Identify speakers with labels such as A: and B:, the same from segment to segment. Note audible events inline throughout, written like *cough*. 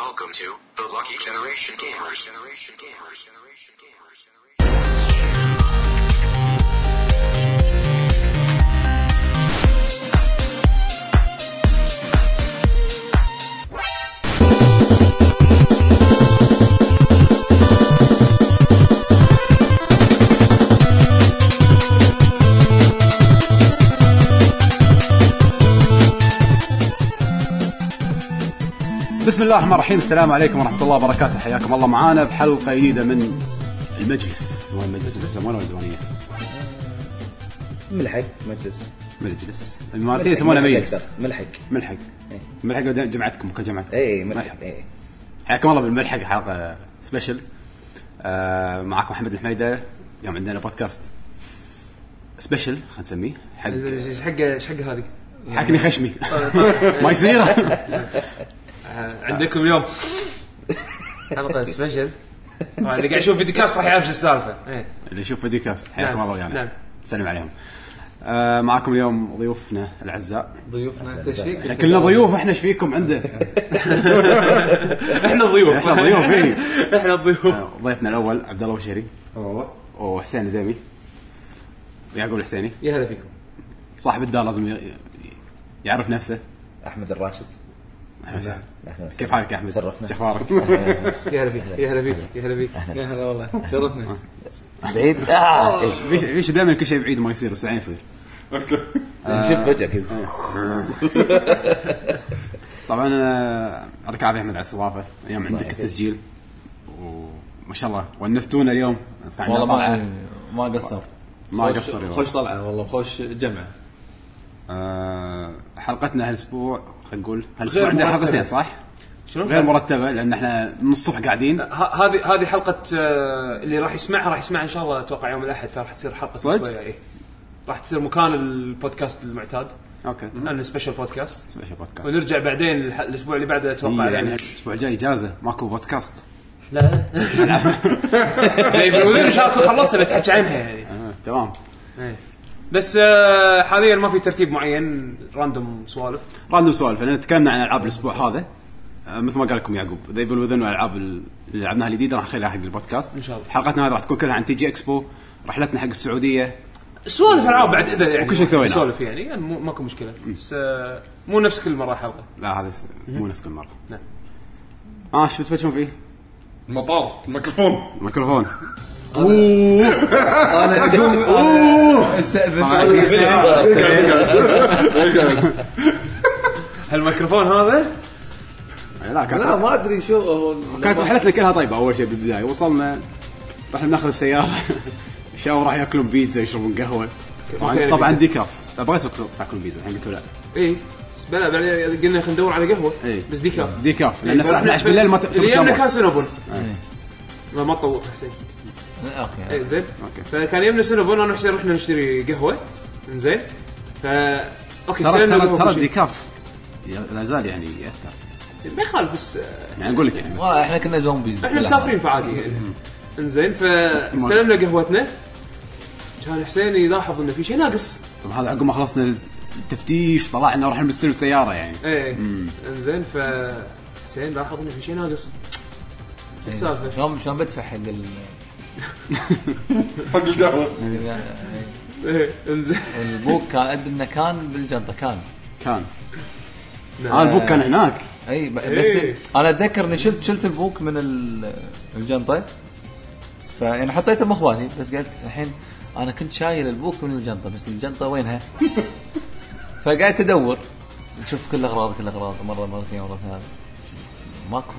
A: to the Lucky Generation Gamers. Generation Gamers. Generation Gamers.
B: بسم الله الرحمن الرحيم السلام عليكم ورحمه الله وبركاته حياكم الله معانا بحلقه جديده من المجلس سواء مجلس يسمونه ولا ديوانيه
C: ملحق مجلس
B: مجلس الاماراتيه يسمونه مجلس
C: أكثر. ملحق
B: ملحق
C: إيه.
B: ملحق ودي- جمعتكم كجمعتكم
C: اي ملحق إيه. اي
B: حياكم الله بالملحق حلقه سبيشل آه معاكم محمد الحميده اليوم عندنا بودكاست سبيشل خلينا نسميه حق
D: زين، ايش حقه ايش حقه هذه؟
B: حكني خشمي
C: *laughs*
B: ما يصير
D: آه، عندكم اليوم حلقه سبيشل طبعاً آه، اللي قاعد يشوف فيديو كاست راح يعرف شو السالفه إيه.
B: اللي يشوف فيديو كاست حياكم
D: نعم،
B: الله ويانا
D: نعم.
B: سلم عليهم آه معاكم اليوم ضيوفنا الاعزاء
E: ضيوفنا انت ايش
B: احنا
E: فيك؟
B: كلنا ضيوف احنا ايش فيكم عنده
D: احنا الضيوف
B: احنا ضيوف،
E: *laughs*
B: إيه.
D: احنا الضيوف
B: *laughs* ضيفنا الاول عبد الله بشيري
E: والله
B: وحسين الديمي ويعقوب الحسيني
D: يا هلا فيكم
B: صاحب الدار لازم ي- يعرف نفسه
C: احمد الراشد
B: أهلا وسهلا.
C: أهلاً وسهلاً.
B: كيف حالك يا احمد؟
C: تعرفنا.
B: شو اخبارك؟
D: يا هلا فيك يا هلا فيك يا هلا فيك
E: يا هلا والله شرفني
C: بعيد آه، إيه.
B: ليش- ليش دائما كل شيء بعيد ما يصير بس بعدين يصير؟
C: نشوف فجاه كذا
B: طبعا آه، يعطيك العافيه احمد على الاستضافه اليوم عندك
C: يعافيك.
B: التسجيل وما شاء الله ونستونا اليوم أتوقع عندنا
E: والله
B: طلعة.
E: ما ما قصر
B: ما
E: خوش-
B: قصر
E: خوش طلعه والله خوش جمعه
B: آه، حلقتنا هالاسبوع خلينا نقول هالاسبوع عندنا
D: مرتبة.
B: حلقتين صح؟
D: شنو؟
B: غير مرتبه لان احنا من الصبح قاعدين
D: ه- هذه هذه حلقه آه، اللي راح يسمعها راح يسمعها ان شاء الله اتوقع يوم الاحد فراح تصير حلقه
B: صدق؟
D: أسبوعية، إيه. راح تصير مكان البودكاست المعتاد
B: اوكي
D: لان سبيشل بودكاست
B: سبيشل بودكاست
D: ونرجع بعدين الح- الاسبوع اللي بعده اتوقع
B: إيه، يعني الاسبوع الجاي اجازه ماكو بودكاست
D: لا *laughs* يقولون ان شاء الله تكون خلصت بتحكي عنها يعني
B: آه، تمام
D: إيه. بس آه، حاليا ما في ترتيب معين راندوم سوالف
B: راندوم سوالف لان تكلمنا عن العاب الاسبوع هذا آه، مثل ما قال لكم يعقوب ذا ايفل وذن والالعاب ال- اللي لعبناها الجديده راح نخليها حق البودكاست
D: إن شاء الله.
B: حلقتنا هذه راح تكون كلها عن تي جي اكسبو رحلتنا حق السعوديه
D: سوالف العاب بعد اذا يعني
B: وكل شيء سويناه.
D: سوالف يعني, يعني مو ماكو مشكله بس آه، مو نفس كل مره حلقه
B: لا هذا س- مو نفس كل مره
D: نعم.
B: اه شو بتفشون فيه؟
E: المطار الميكروفون *laughs*
B: ميكروفون
E: انا اقوم أنا
B: آه،
E: *laughs*
B: *laughs*
E: استاذن
B: إيه.
E: إيه.
D: هالميكروفون هذا
B: لا
E: لا
B: كانت
E: ما ادري شو هو
B: كانت رحلتنا كلها طيبه اول شيء بالبدايه وصلنا رحنا بناخذ السياره *laughs* شاو راح ياكلون بيتزا يشربون قهوه طبعا
D: أوكي.
B: طبعا ديكاف بغيت أطلب- تاكلون بيتزا الحين قلت له لا
D: اي إيه. بس بلا بلا قلنا خلينا ندور على قهوه
B: إيه.
D: بس دي كاف
B: ديكاف
E: إيه،
B: لان الساعه 12 بالليل ما تقدر
D: اللي يمنا
B: تنام.
D: كان سينابون ما ما تطوق حسين
E: اوكي
D: إيه، زين
B: أوكي.
D: فكان يمنا سينابون انا وحسين رحنا نشتري قهوه زين ف اوكي
B: ترى
D: استلمنا
B: ترى
D: القهوة
B: ترى
D: وكل شيء.
B: ديكاف ي- لا زال يعني ياثر
D: ما يخالف بس آه،
B: يعني اقول لك يعني بس
E: والله احنا كنا زومبيز
D: احنا مسافرين فعادي يعني انزين فاستلمنا قهوتنا كان حسين يلاحظ انه في شيء ناقص
B: طب هذا عقب ما خلصنا التفتيش طلع انه راح نستلم السياره يعني
D: ايه انزين ف حسين لاحظ انه في شيء ناقص
E: إيه.
D: شو السالفه؟
E: شلون شلون بدفع حق ال
F: حق
E: *laughs*
F: القهوه
D: ايه انزين
E: يعني البوك كان قد انه كان بالجنطه كان
B: كان
E: نعم.
B: اه البوك كان هناك
E: اي ب- بس
D: إيه.
E: انا اتذكر اني شلت شلت البوك من ال- الجنطه فيعني حطيته مخباتي بس قلت الحين انا كنت شايل البوك من الجنطه بس الجنطه وينها؟ فقعدت ادور شوف كل اغراض كل اغراض مره مرتين مره ثالث ماكو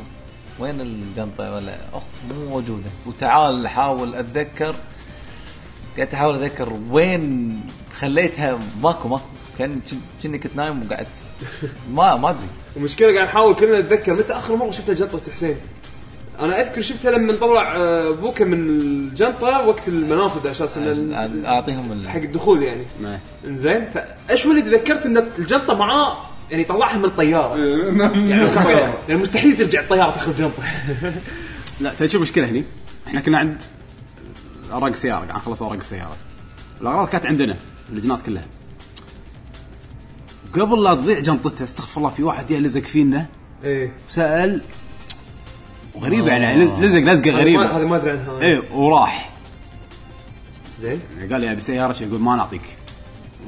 E: وين الجنطه ولا اخ مو موجوده وتعال احاول اتذكر قعدت احاول اتذكر وين خليتها ماكو ماكو كان كني كنت نايم وقعدت ما ما ادري
D: المشكله قاعد نحاول كلنا نتذكر متى اخر مره شفنا جنطه حسين؟ انا اذكر شفتها لما طلع آه، بوكه من الجنطه وقت المنافذ على اساس
E: أ-
D: إنه
E: اعطيهم ال...
D: حق الدخول يعني
B: ما-
D: انزين فاشو اللي تذكرت ان الجنطه معاه يعني طلعها من الطياره يعني خلاص، يعني مستحيل ترجع الطياره تاخذ جنطه
B: لا تدري شو المشكله هني؟ احنا كنا عند اوراق السياره قاعد نخلص اوراق السياره الاغراض كانت عندنا اللجنات كلها قبل لا تضيع جنطته استغفر الله في واحد يلزق فينا
D: ايه
B: سال وغريبه يعني لز- لزق لزقه
D: هذه ما-
B: غريبه
D: هذه ما ادري عنها أنا.
B: اي وراح
D: زين
B: قال لي ابي سياره شي يقول ما نعطيك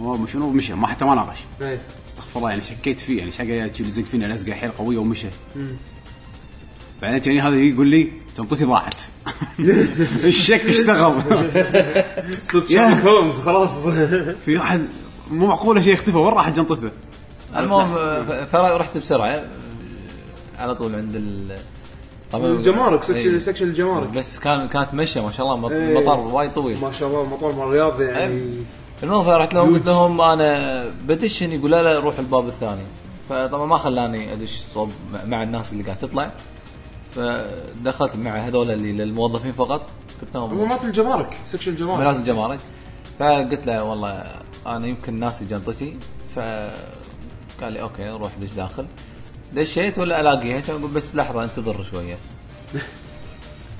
B: هو شنو مشى ما حتى ما ناقش
D: إيه.
B: استغفر الله يعني شكيت فيه يعني شقه قاعد يلزق فينا لزقه حيل قويه ومشى بعدين يعني هذا يقول لي شنطتي ضاعت *laughs* الشك اشتغل
D: صرت
B: يا.
D: شارلوك هومز خلاص
B: في واحد مو معقوله شيء اختفى وين راحت شنطته؟
E: المهم آه، فرحت بسرعه آه، على طول عند ال طبعاً-
D: الجمارك سكشن
E: إيه.
D: سكشن الجمارك
E: بس كان كانت مشيه ما شاء الله مط-
D: إيه.
E: مطار وايد طويل إيه.
D: ما شاء الله مطار مال الرياض يعني
E: المهم فرحت لهم قلت لهم انا بدشن يقول لا لا روح الباب الثاني فطبعا ما خلاني ادش صوب مع الناس اللي قاعد تطلع فدخلت مع هذول اللي للموظفين فقط قلت
D: هو
E: لهم
D: مات الجمارك سكشن الجمارك
E: ملاذ الجمارك فقلت له والله انا يمكن ناسي جنطتي فقال لي اوكي روح دش داخل دشيت ولا الاقيها كان اقول بس لحظه انتظر شويه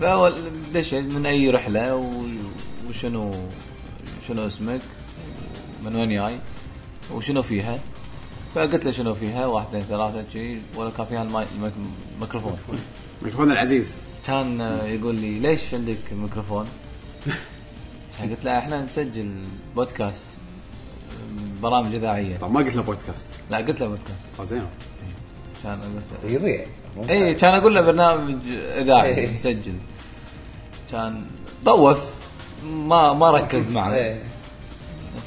E: فدشيت من اي رحله و- وشنو شنو اسمك من وين جاي وشنو فيها فقلت له شنو فيها واحد اثنين ثلاثه شي ولا كان فيها الماي- الميك- الميكروفون
B: ميكروفون العزيز
E: كان آه، يقول لي ليش عندك
C: *laughs*
E: ميكروفون؟ قلت له احنا نسجل بودكاست آه، برامج اذاعيه
B: طب ما قلت له بودكاست
E: لا قلت له بودكاست
B: طب زين
E: كان قلت له
C: يضيع
E: اي كان اقول له برنامج اذاعي
C: إيه.
E: مسجل كان طوف ما ما ركز معنا
C: إيه.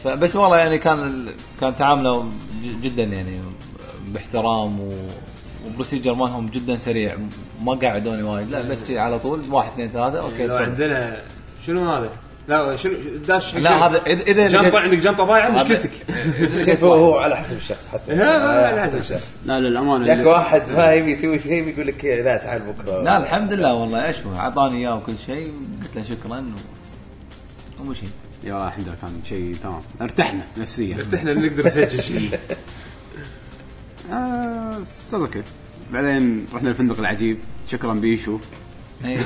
E: فبس والله يعني كان ال- كان تعامله ج- جدا يعني باحترام و والبروسيجر مالهم جدا سريع ما قعدوني وايد لا بس شي على طول واحد اثنين ثلاثه
C: إيه،
E: اوكي
D: لو
E: تسجل.
D: عندنا شنو هذا؟ لا شنو داش
E: لا هذا إذا- إذا لقيت-
D: جنطه عندك جنطه ضايعه مشكلتك
C: كيف هو هو على حسب الشخص حتى
D: لا، لا،
C: على
D: لا،
C: حسب
D: لا.
C: الشخص
B: لا للامانه
C: جاك
B: اللي-
C: واحد ما يبي يسوي شيء بيقول لك لا تعال بكره
E: لا الحمد لله والله اشبه اعطاني اياه وكل شيء قلت له شكرا و... ومشي
B: يا والله الحمد لله كان شيء تمام ارتحنا نفسيا
D: ارتحنا إن نقدر نسجل شيء
B: آه، استاذ اوكي بعدين رحنا الفندق العجيب شكرا بيشو
E: *laughs* إيه.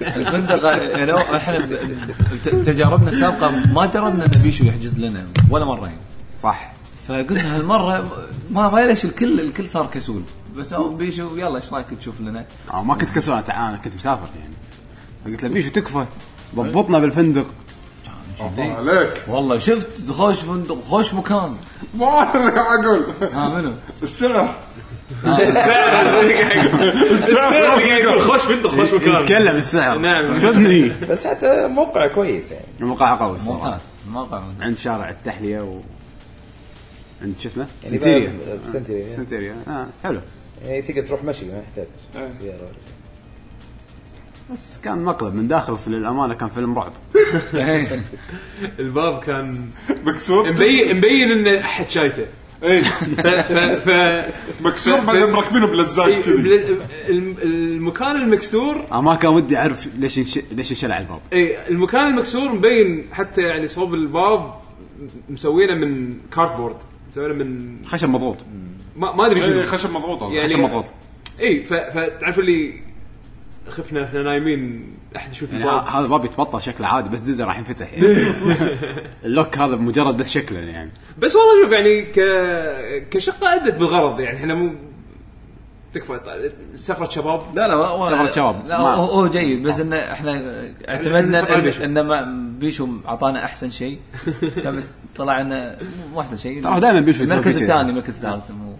E: الفندق يعني هو- احنا ب- ت- تجاربنا السابقه ما جربنا ان بيشو يحجز لنا ولا مره يعني
B: صح
E: فقلنا هالمره ما ما ليش الكل الكل صار كسول بس هو بيشو يلا ايش رايك تشوف لنا؟
B: أو آه، ما كنت كسول أنا- انا كنت مسافر يعني فقلت له بيشو تكفى ضبطنا بالفندق
F: الله عليك *laughs*
E: والله شفت خوش فندق خوش مكان
F: ما أعرف اقول
E: ها منو؟
F: السمع
D: السعر اللي قاعد يقول خوش فندق خوش مكان
B: يتكلم السعر
D: نعم.
B: خذني
C: بس حتى موقع كويس يعني
B: الموقع قوي الصراحه
E: ممتاز موقع ممتاز.
B: عند شارع التحليه و عند شو اسمه؟
C: يعني
B: سنتيريا
C: ب- بسنتيريا.
B: سنتيريا اه حلو
C: يعني تقدر تروح مشي ما يحتاج
D: آه.
C: سياره ولا شيء.
B: بس كان مقلب من داخل بس للامانه كان فيلم رعب
C: *laughs*
E: إيه.
D: الباب كان إيه،
F: مكسور
D: مبين مبين انه احد شايته إيه.
F: اي
D: ف ف ف
F: مكسور
D: ف-
F: بعدين مركبينه بلزاق كذي
D: الم- المكان المكسور
B: آه ما كان ودي اعرف ليش انش... ليش انشلع الباب
D: اي المكان المكسور مبين حتى يعني صوب الباب مسوينه من كارتبورد مسوينه من
B: خشب مضغوط
D: ما, ما ادري
F: إيه،
D: شنو
F: خشب مضغوط هذا.
D: يعني-
B: خشب مضغوط
D: اي ف- فتعرف اللي خفنا احنا نايمين احد يشوف
B: يعني ه-
D: الباب
B: هذا الباب يتبطل شكله عادي بس دزه راح
D: *laughs*
B: ينفتح يعني اللوك هذا مجرد بس شكله يعني
D: بس والله شوف يعني ك كشقه ادت بالغرض يعني احنا مو تكفى طيب، سفره شباب
E: لا لا ما- ما-
B: سفرة شباب.
E: لا
B: ما-
E: هو هو جيد بس انه احنا اعتمدنا
D: نفرق على
E: إن-
D: بيشو.
E: ان ما بيشو اعطانا احسن
B: *laughs*
E: شيء فبس طلع انه مو احسن شيء
B: ترى دائما بيشو يسوي
E: المركز
B: كذا.
E: الثاني المركز الثالث مو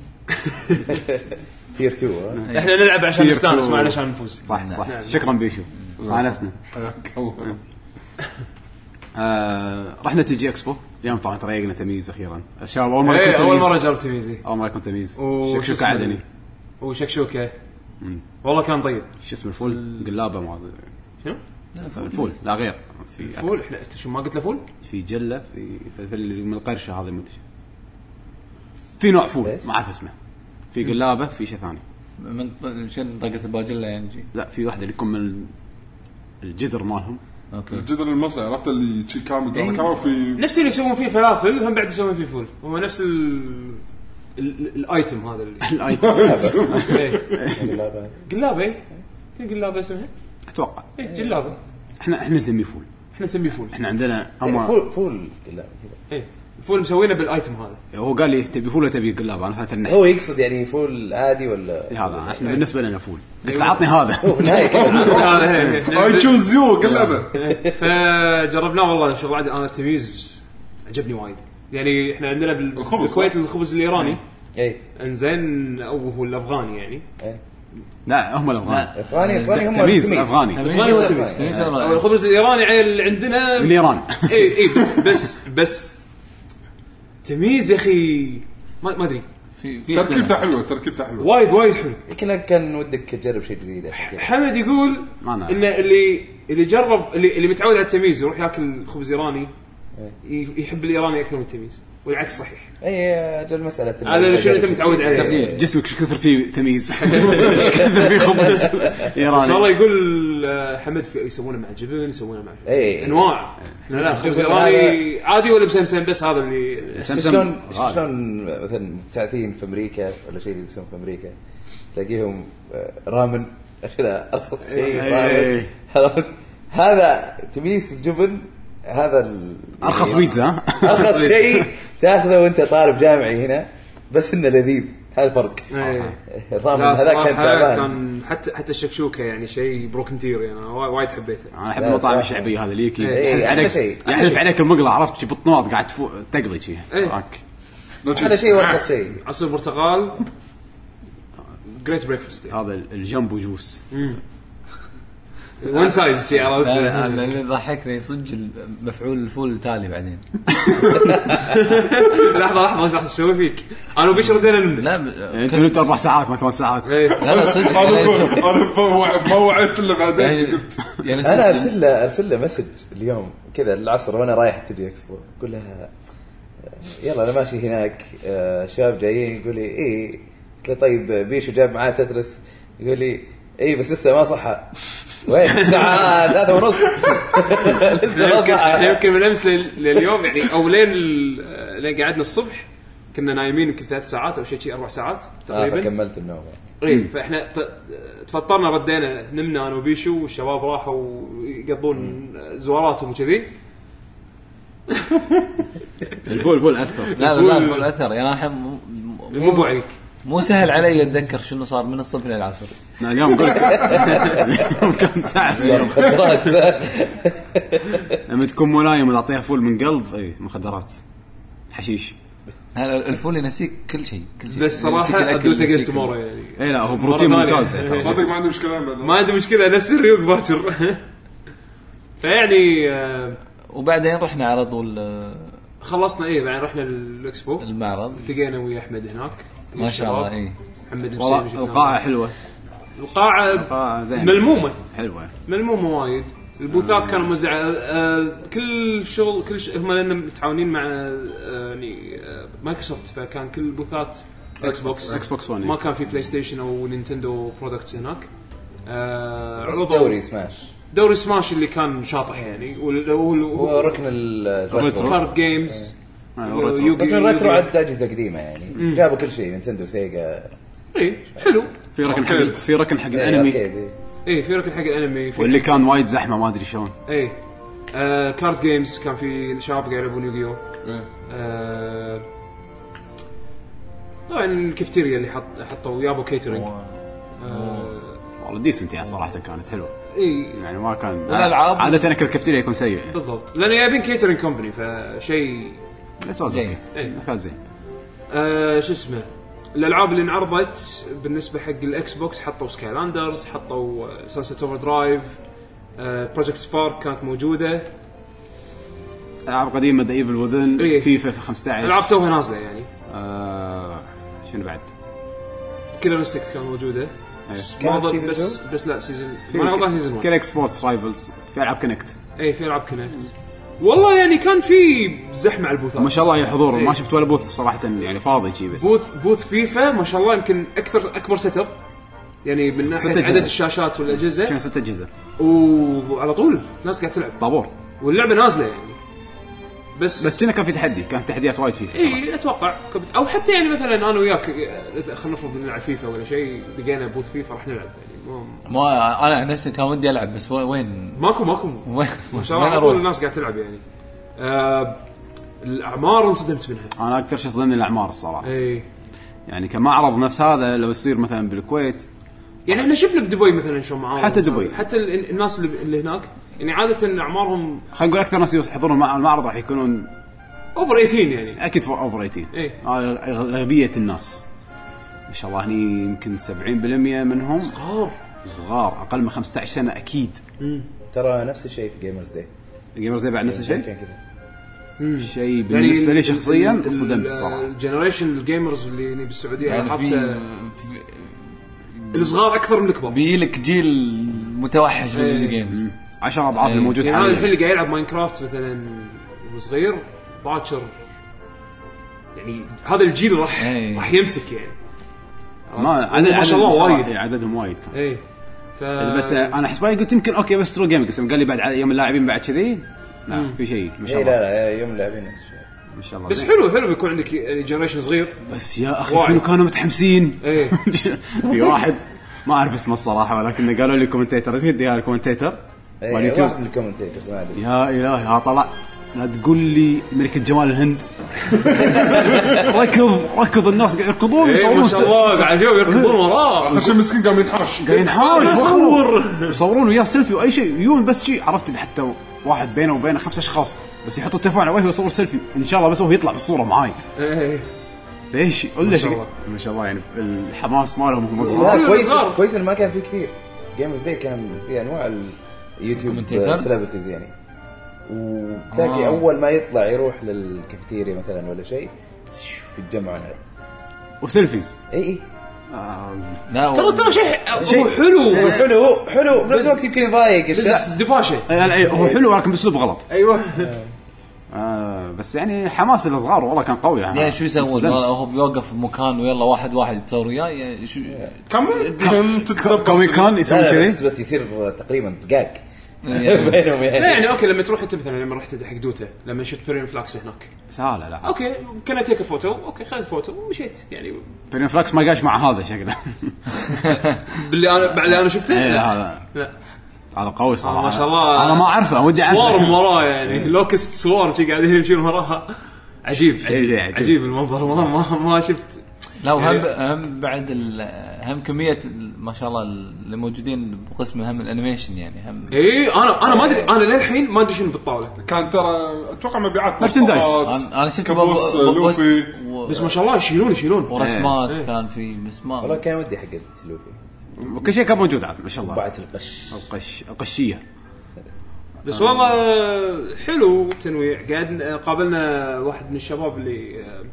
C: تير 2
D: احنا نلعب عشان
B: Tier
D: نستانس
B: two.
D: ما علشان نفوز
B: صح صح
D: نعم.
B: شكرا بيشو صانسنا آه رحنا تي جي اكسبو اليوم طبعا تريقنا تمييز اخيرا الشباب اول مره
D: ايه
B: يكون
D: اول مره
B: تمييز
D: جربت تميزي
B: اول مره يكون تمييز
D: وش
B: شكشوك
D: اسمه؟
B: عدني
D: وشكشوكه والله كان طيب
B: شو اسمه الفول قلابه ما
D: شنو؟
B: الفول لا غير في
D: فول احنا أنت شو ما قلت له فول؟
B: في جله في فلفل من القرشه هذه من في نوع فول
C: إيش؟
B: ما اعرف اسمه في قلابه في شيء ثاني
E: من ط- شنو طاقه الباجله يعني شي.
B: لا في واحده اللي تكون من ال- الجدر مالهم *laughs*
E: اوكي
F: الجدر المصري عرفت اللي شي كامل
E: إيه.
F: كانوا في
D: نفس اللي يسوون فيه فلافل هم بعد يسوون فيه فول هو نفس ال ال- الايتم
B: *laughs*
D: هذا اللي
B: الايتم
D: *laughs* إيه. *laughs*
C: لا
D: قلابه إيه. في قلابه اسمها؟
B: اتوقع
D: اي قلابه
B: احنا احنا نسميه فول
D: احنا نسميه إيه، فول
B: احنا عندنا
C: لا
B: اما
C: فول فول لا كذا
D: اي فول مسوينه بالايتم
B: *laughs*
D: هذا
B: هو قال لي تبي فول ولا تبي قلاب انا فات النحت
C: هو يقصد يعني فول عادي
D: *laughs*
C: ولا
B: إيه هذا احنا بالنسبه لنا فول قلت
C: أيوه.
B: له عطني هذا
C: لا، كذا.
D: إيه.
F: اي تشوز يو قلبه
D: فجربناه والله شغل عادي انا التمييز عجبني وايد يعني احنا عندنا بال-
F: الخبز،
D: بالكويت
F: صح؟
D: الخبز الايراني
C: اي
D: انزين او هو الافغاني يعني
B: *laughs* لا هم الافغان
C: افغاني افغاني هم
B: تمييز
C: التمييز.
B: افغاني
E: تمييز
C: ولا
E: تمييز.
C: تمييز؟
E: تمييز
B: طيب،
E: ولا
D: أو
E: لا؟
D: الخبز الايراني عيل اللي عندنا
B: من ايران
C: إيه.
D: اي اي بس بس بس تمييز يا اخي ما ما ادري
E: في
B: طيب،
E: في
F: تركيبته حلوه تركيبته
D: *laughs*
F: حلوه
D: وايد وايد حلو
C: يمكن كان ودك تجرب شيء جديد
D: *laughs* حمد يقول
B: ما أنا-
D: ان اللي اللي جرب اللي, اللي متعود على التمييز يروح ياكل خبز ايراني ي- يحب الايراني اكثر من التمييز والعكس صحيح
C: اي اجل مساله إنه
D: على شنو انت
C: أجرب
D: متعود
C: شيء.
D: عليه
E: تغيير.
B: *laughs* جسمك ايش كثر فيه تمييز
C: *laughs*
B: ايش كثر فيه خبز
D: ان شاء الله
B: ايراني
D: يقول آه، حمد في- يسوونه مع جبن يسوونه مع
C: إي.
D: انواع احنا لا خبز
C: الجبن
D: ايراني عادي ولا مسمسم بس هذا اللي
B: سمسم
C: شلون
B: غالي.
C: شلون مثلا تعثين في امريكا ولا شيء يلبسون في امريكا تلاقيهم آه، رامن اخذها ارخص شيء
B: إيه.
C: رامن عرفت؟ هذا تميس بجبن هذا ال-
B: ارخص
C: يعني
B: بيتزا ها؟
D: *laughs*
C: ارخص شيء تاخذه وانت طالب جامعي هنا بس انه لذيذ هذا الفرق
D: إيه.
C: الرامن
D: لا
C: هذا
D: صراحة
C: كان تعبان
D: كان حتى حتى الشكشوكه يعني شيء بروكن تيري انا وا- وايد حبيته
B: انا احب
C: لا،
B: المطاعم
C: صراحة.
B: الشعبيه هذا اللي يكي
D: إيه،
B: يحذف
C: أحلى شيء.
B: عليك يحذف عليك المقله عرفت شي بطنوط قاعد تفوق تقضي شي
D: إيه.
B: وراك.
C: هذا
D: *laughs*
C: شيء وارخص شيء
D: عصير برتقال يعني. جريت بريكفاست
B: هذا ال- الجامبو جوس
D: ون سايز شيء عرفت
E: لا لا أنا اللي ضحكني صدق ال- مفعول الفول تالي بعدين
D: لحظه لحظه ايش راح تسوي فيك؟ انا وبشر بدينا نمنا
E: لا
B: يعني
E: ب-
B: انت نمت اربع ساعات ما ثمان ساعات
D: إيه.
E: لا لا صدق
F: انا
E: يعني شوف،
F: انا فوع- ما وعدت الا
E: يعني-
F: بعدين قلت
E: يعني
C: انا
E: صدق-
C: ارسل له ارسل له مسج اليوم كذا العصر وانا رايح تجي اكسبو اقول لها آه، يلا انا ماشي هناك آه، شباب جايين يقول لي اي قلت له طيب بيشو جاب معاه تترس يقول لي اي بس لسه ما صحى وين الساعه *laughs* ثلاثة ونص لسه ما
D: يمكن
C: صحى
D: يمكن من امس لل- لليوم يعني او لين ال- لين قعدنا الصبح كنا نايمين يمكن ثلاث ساعات او شيء شيء اربع ساعات
C: آه،
D: تقريبا
C: فكملت النوم
D: اي فاحنا إيه، ت- تفطرنا ردينا نمنا انا وبيشو والشباب راحوا يقضون زواراتهم وكذي
B: الفول فول اثر
E: لا لا لا الفول اثر يعني الحين مو- مو-
D: مو عليك
E: مو سهل علي اتذكر شنو صار من الصبح للعصر
B: أنا اليوم اقول لك اليوم كان تعب
C: صار
B: اليوم.
C: مخدرات
B: لما تكون ملايم وتعطيها فول من قلب اي مخدرات حشيش
E: هلا الفول ينسيك كل شيء كل شيء
D: بس صراحه
E: ينسيك الأكل،
D: ادوت اجين
E: ينسيك ال-
D: تومورو يعني
B: اي لا هو
D: مرة
B: بروتين
D: ثانية.
B: ممتاز
D: إيه.
B: يعتبر.
F: صدق ما عندي مشكله ابدا
D: ما عندي مشكله نفس الريوق باكر *laughs* فيعني آه،
E: وبعدين رحنا على طول آه،
D: خلصنا ايه بعدين رحنا الاكسبو
E: المعرض
D: التقينا ويا احمد هناك
E: ما شاء الله إيه. اي
D: محمد الحسين
B: والله
D: شفناه.
B: القاعه حلوه
D: القاعه
B: القاعه آه، زين آه،
D: ملمومه
B: حلوه
D: ملمومه وايد البوثات كانوا موزعه آه كل شغل كل ش... هم لان متعاونين مع آه يعني آه مايكروسوفت فكان كل البوثات اكس بوكس
B: إكس بوكس One،
D: ما
B: إيه.
D: كان في بلاي ستيشن او نينتندو برودكتس هناك آه عرضوا
C: دوري سماش
D: دوري سماش اللي كان شاطح يعني وال- وال- وال-
C: وركن ال- الريترو
D: كارد جيمز
B: أيوة،
D: يو-
B: ريترو.
D: يوغي-
C: ركن الريترو
D: يوغي-
C: عاد اجهزه قديمه يعني جابوا كل شيء نينتندو سيجا
D: اي إيه، حلو
B: في ركن حق
F: أركيد.
B: في ركن حق
C: إيه،
B: الانمي
C: أركيد، إيه.
D: اي في ركن حق الانمي في
B: واللي كان وايد زحمه ما ادري شلون
D: اي آه كارد جيمز كان في شباب قاعد يلعبون يوغيو
F: إيه.
D: آه طبعا الكافتيريا اللي حط حطوا يابو كيترنج
B: والله ديسنت يعني صراحه كانت حلوه
D: اي
B: يعني ما كان
E: والألعاب؟
B: عاده اكل الكافتيريا يكون سيء يعني.
D: بالضبط لان جايبين كيترنج كومباني فشيء
B: بس واز
E: زين.
B: اوكي
D: إيه.
B: كان زين
D: آه شو اسمه الالعاب اللي انعرضت بالنسبه حق الاكس بوكس حطوا سكايلاندرز حطوا آه، سانست اوفر درايف بروجكت سبارك آه، كانت موجوده
B: العاب قديمه ذا ايفل وذن
D: إيه.
B: فيفا في
D: العاب
B: 15
D: توها نازله يعني
B: آه، شنو بعد؟
D: كيلر انستكت كانت موجوده بس ما
C: كانت
D: أظن-
C: سيزن
D: بس
C: two؟
D: بس لا سيزون ما أنا أظن سيزون 1
B: كينكت سبورتس رايفلز في العاب كونكت
D: اي في العاب كونكت والله يعني كان في زحمه على البوثات
B: ما شاء الله يا حضور
D: إيه.
B: ما شفت ولا بوث صراحه يعني فاضي شي بس
D: بوث بوث فيفا ما شاء الله يمكن اكثر اكبر سيت اب يعني من
B: ستة
D: ناحيه
B: أجهزة.
D: عدد الشاشات
B: كان
D: والاجهزه
B: ست اجهزه
D: وعلى طول ناس قاعد تلعب
B: طابور
D: واللعبه نازله يعني بس
B: بس كنا كان في تحدي كان تحديات وايد فيفا ترى.
D: اي اتوقع كنت- او حتى يعني مثلا انا وياك آه، خلينا نفرض نلعب فيفا ولا شيء لقينا بوث فيفا راح نلعب يعني ما-
E: ما انا عن نفسي كان ودي العب بس وين وين
D: ماكو ماكو *laughs*
E: وين
D: ما شاء الله على طول
E: اروح؟
D: الناس قاعد تلعب يعني آه الاعمار انصدمت منها
B: انا اكثر شيء صدمني الاعمار الصراحه
D: اي
B: يعني كمعرض نفس هذا لو يصير مثلا بالكويت
D: يعني احنا شفنا بدبي مثلا شو معاهم
B: حتى دبي.
D: حتى ال- الناس اللي, اللي هناك يعني عاده اعمارهم
B: خلينا نقول اكثر ناس يحضرون المع- المعرض راح يكونون
D: اوفر 18 يعني
B: اكيد فوق اوفر 18
D: إيه.
B: هذا اغلبيه الناس ما شاء الله هني يمكن 70% منهم
D: صغار
B: صغار اقل من 15 سنه اكيد
C: ترى نفس الشيء في جيمرز داي
B: الجيمرز بعد نفس الشيء
C: كذا
D: يعني
B: شيء بالنسبه لي شخصيا انصدمت الصراحه
D: الجنريشن الجيمرز اللي هني بالسعوديه
E: يعني
D: يعني
E: في
D: حتى الصغار اكثر من الكبار
E: بيجيلك جيل متوحش
D: إيه.
E: بالفيديو جيمز
B: 10 اضعاف
E: إيه.
B: الموجود
D: يعني انا الحين
B: حاليا
D: اللي قاعد يلعب ماينكرافت مثلا وصغير باكر يعني هذا الجيل راح
E: إيه.
D: راح يمسك يعني
B: ما عدد
D: ما شاء الله
B: بصراحة،
D: وايد.
B: إيه، عددهم وايد كان
D: اي ف
B: بس آه، انا حسباني قلت يمكن اوكي بس ترو جيمنج بس يوم قال لي بعد ع- يوم اللاعبين بعد كذي لا في شيء ما شاء
C: اي إيه، لا
B: الله
C: لا يوم اللاعبين نفس الشيء
B: ما شاء الله
D: بس حلو حلو بيكون عندك جنريشن صغير
B: بس يا اخي
D: وايد.
B: شنو كانوا متحمسين
D: إيه.
B: *laughs* في واحد ما اعرف اسمه الصراحه ولكن قالوا لي كومنتيتر تدري هذا الكومنتيتر
C: إيه،
B: مال يوتيوب
C: واحد من الكومنتيترز ما ادري
B: يا الهي ها طلع لا تقول لي ملكة جمال
D: *laughs*
B: الهند ركض ركض الناس قاعد يركضون
D: اي إيه، ما
B: يصورون
D: شاء الله قاعد يجوا يركضون وراه
F: اخر شيء مسكين قام ينحاش
B: قاعد ينحاش
D: لا
B: يصور
D: صور.
B: يصورون وياه سيلفي واي شيء يجون بس شيء عرفت اللي حتى واحد بينه وبينه خمس اشخاص بس يحط التليفون على وجهه ويصور سيلفي ان شاء الله بس هو يطلع بالصوره معاي
D: إيه.
B: ليش ولا
D: شاء
B: شيء
D: الله.
B: ما شاء الله يعني الحماس مالهم هم صغار
C: لا
D: كله
C: كويس
D: صغار.
C: كويس انه ما كان في كثير جيمرز داي كان في انواع اليوتيوب
E: الكومنتيترز؟
C: سيلبرتيز يعني وتلاقي
E: آه.
C: آه. اول ما يطلع يروح للكافيتيريا مثلا ولا شيء شو، يتجمعون عليه إيه،
B: وسيلفيز
C: اي اي
E: لا
D: ترى ترى شيء شيء حلو بس
C: حلو حلو في نفس الوقت يمكن يضايق الشخص
D: بس دفاشه
B: آه، لا، هو حلو ولكن باسلوب غلط
D: ايوه
B: آه بس يعني حماس الصغار والله كان قوي يعني
E: يعني شو يسوون؟
B: انصدمت.
E: هو بيوقف بمكان ويلا واحد واحد يتصور وياه يعني شو
F: كم
B: *laughs*
F: كم تتدبر
B: كومي كان يسوي
C: لا، لا،
B: كذي
C: بس بس يصير تقريبا دقاق
E: يعني
C: *laughs* بينهم
D: لا
B: إيه.
C: يعني
D: يعني اوكي لما تروح انت مثلا لما رحت حق دوتا لما شفت بيرين فلاكس هناك
B: سهله لا
D: اوكي كان اتيك فوتو اوكي خذت فوتو ومشيت يعني
B: بيرين فلاكس ما قاش مع هذا شكله *laughs*
D: باللي انا بعد اللي انا شفته
B: إيه،
D: لا.
B: هذا
D: لا
B: هذا قوي صراحه
D: ما شاء الله.
B: انا ما اعرفه ودي اعرفه
D: سوارم وراه يعني لوكست سوارم شي قاعدين يمشون وراها عجيب عجيب
B: شيء
D: عجيب,
B: عجيب.
D: المنظر ما ما, ما شفت
E: لا وهم
D: يعني-
E: هم بعد ال- هم كميه ال- ما شاء الله اللي موجودين بقسم هم الانيميشن يعني هم
D: اي انا انا إيه، ما ادري انا للحين ما ادري شنو بالطاوله
F: كان ترى اتوقع مبيعات
B: مرشندايز.
F: مرشندايز
E: انا أنا شفت
F: كابوس آه،
E: بو- بو- بو-
F: لوفي
E: و-
D: بس ما شاء الله يشيلون يشيلون
E: ورسمات
D: إيه.
E: كان في بس ما
C: والله كان ودي حق لوفي
B: وكل شيء كان موجود عاد ما شاء الله
C: بعت القش
B: القش القشيه
D: بس والله حلو تنويع قاعد قابلنا واحد من الشباب اللي آه،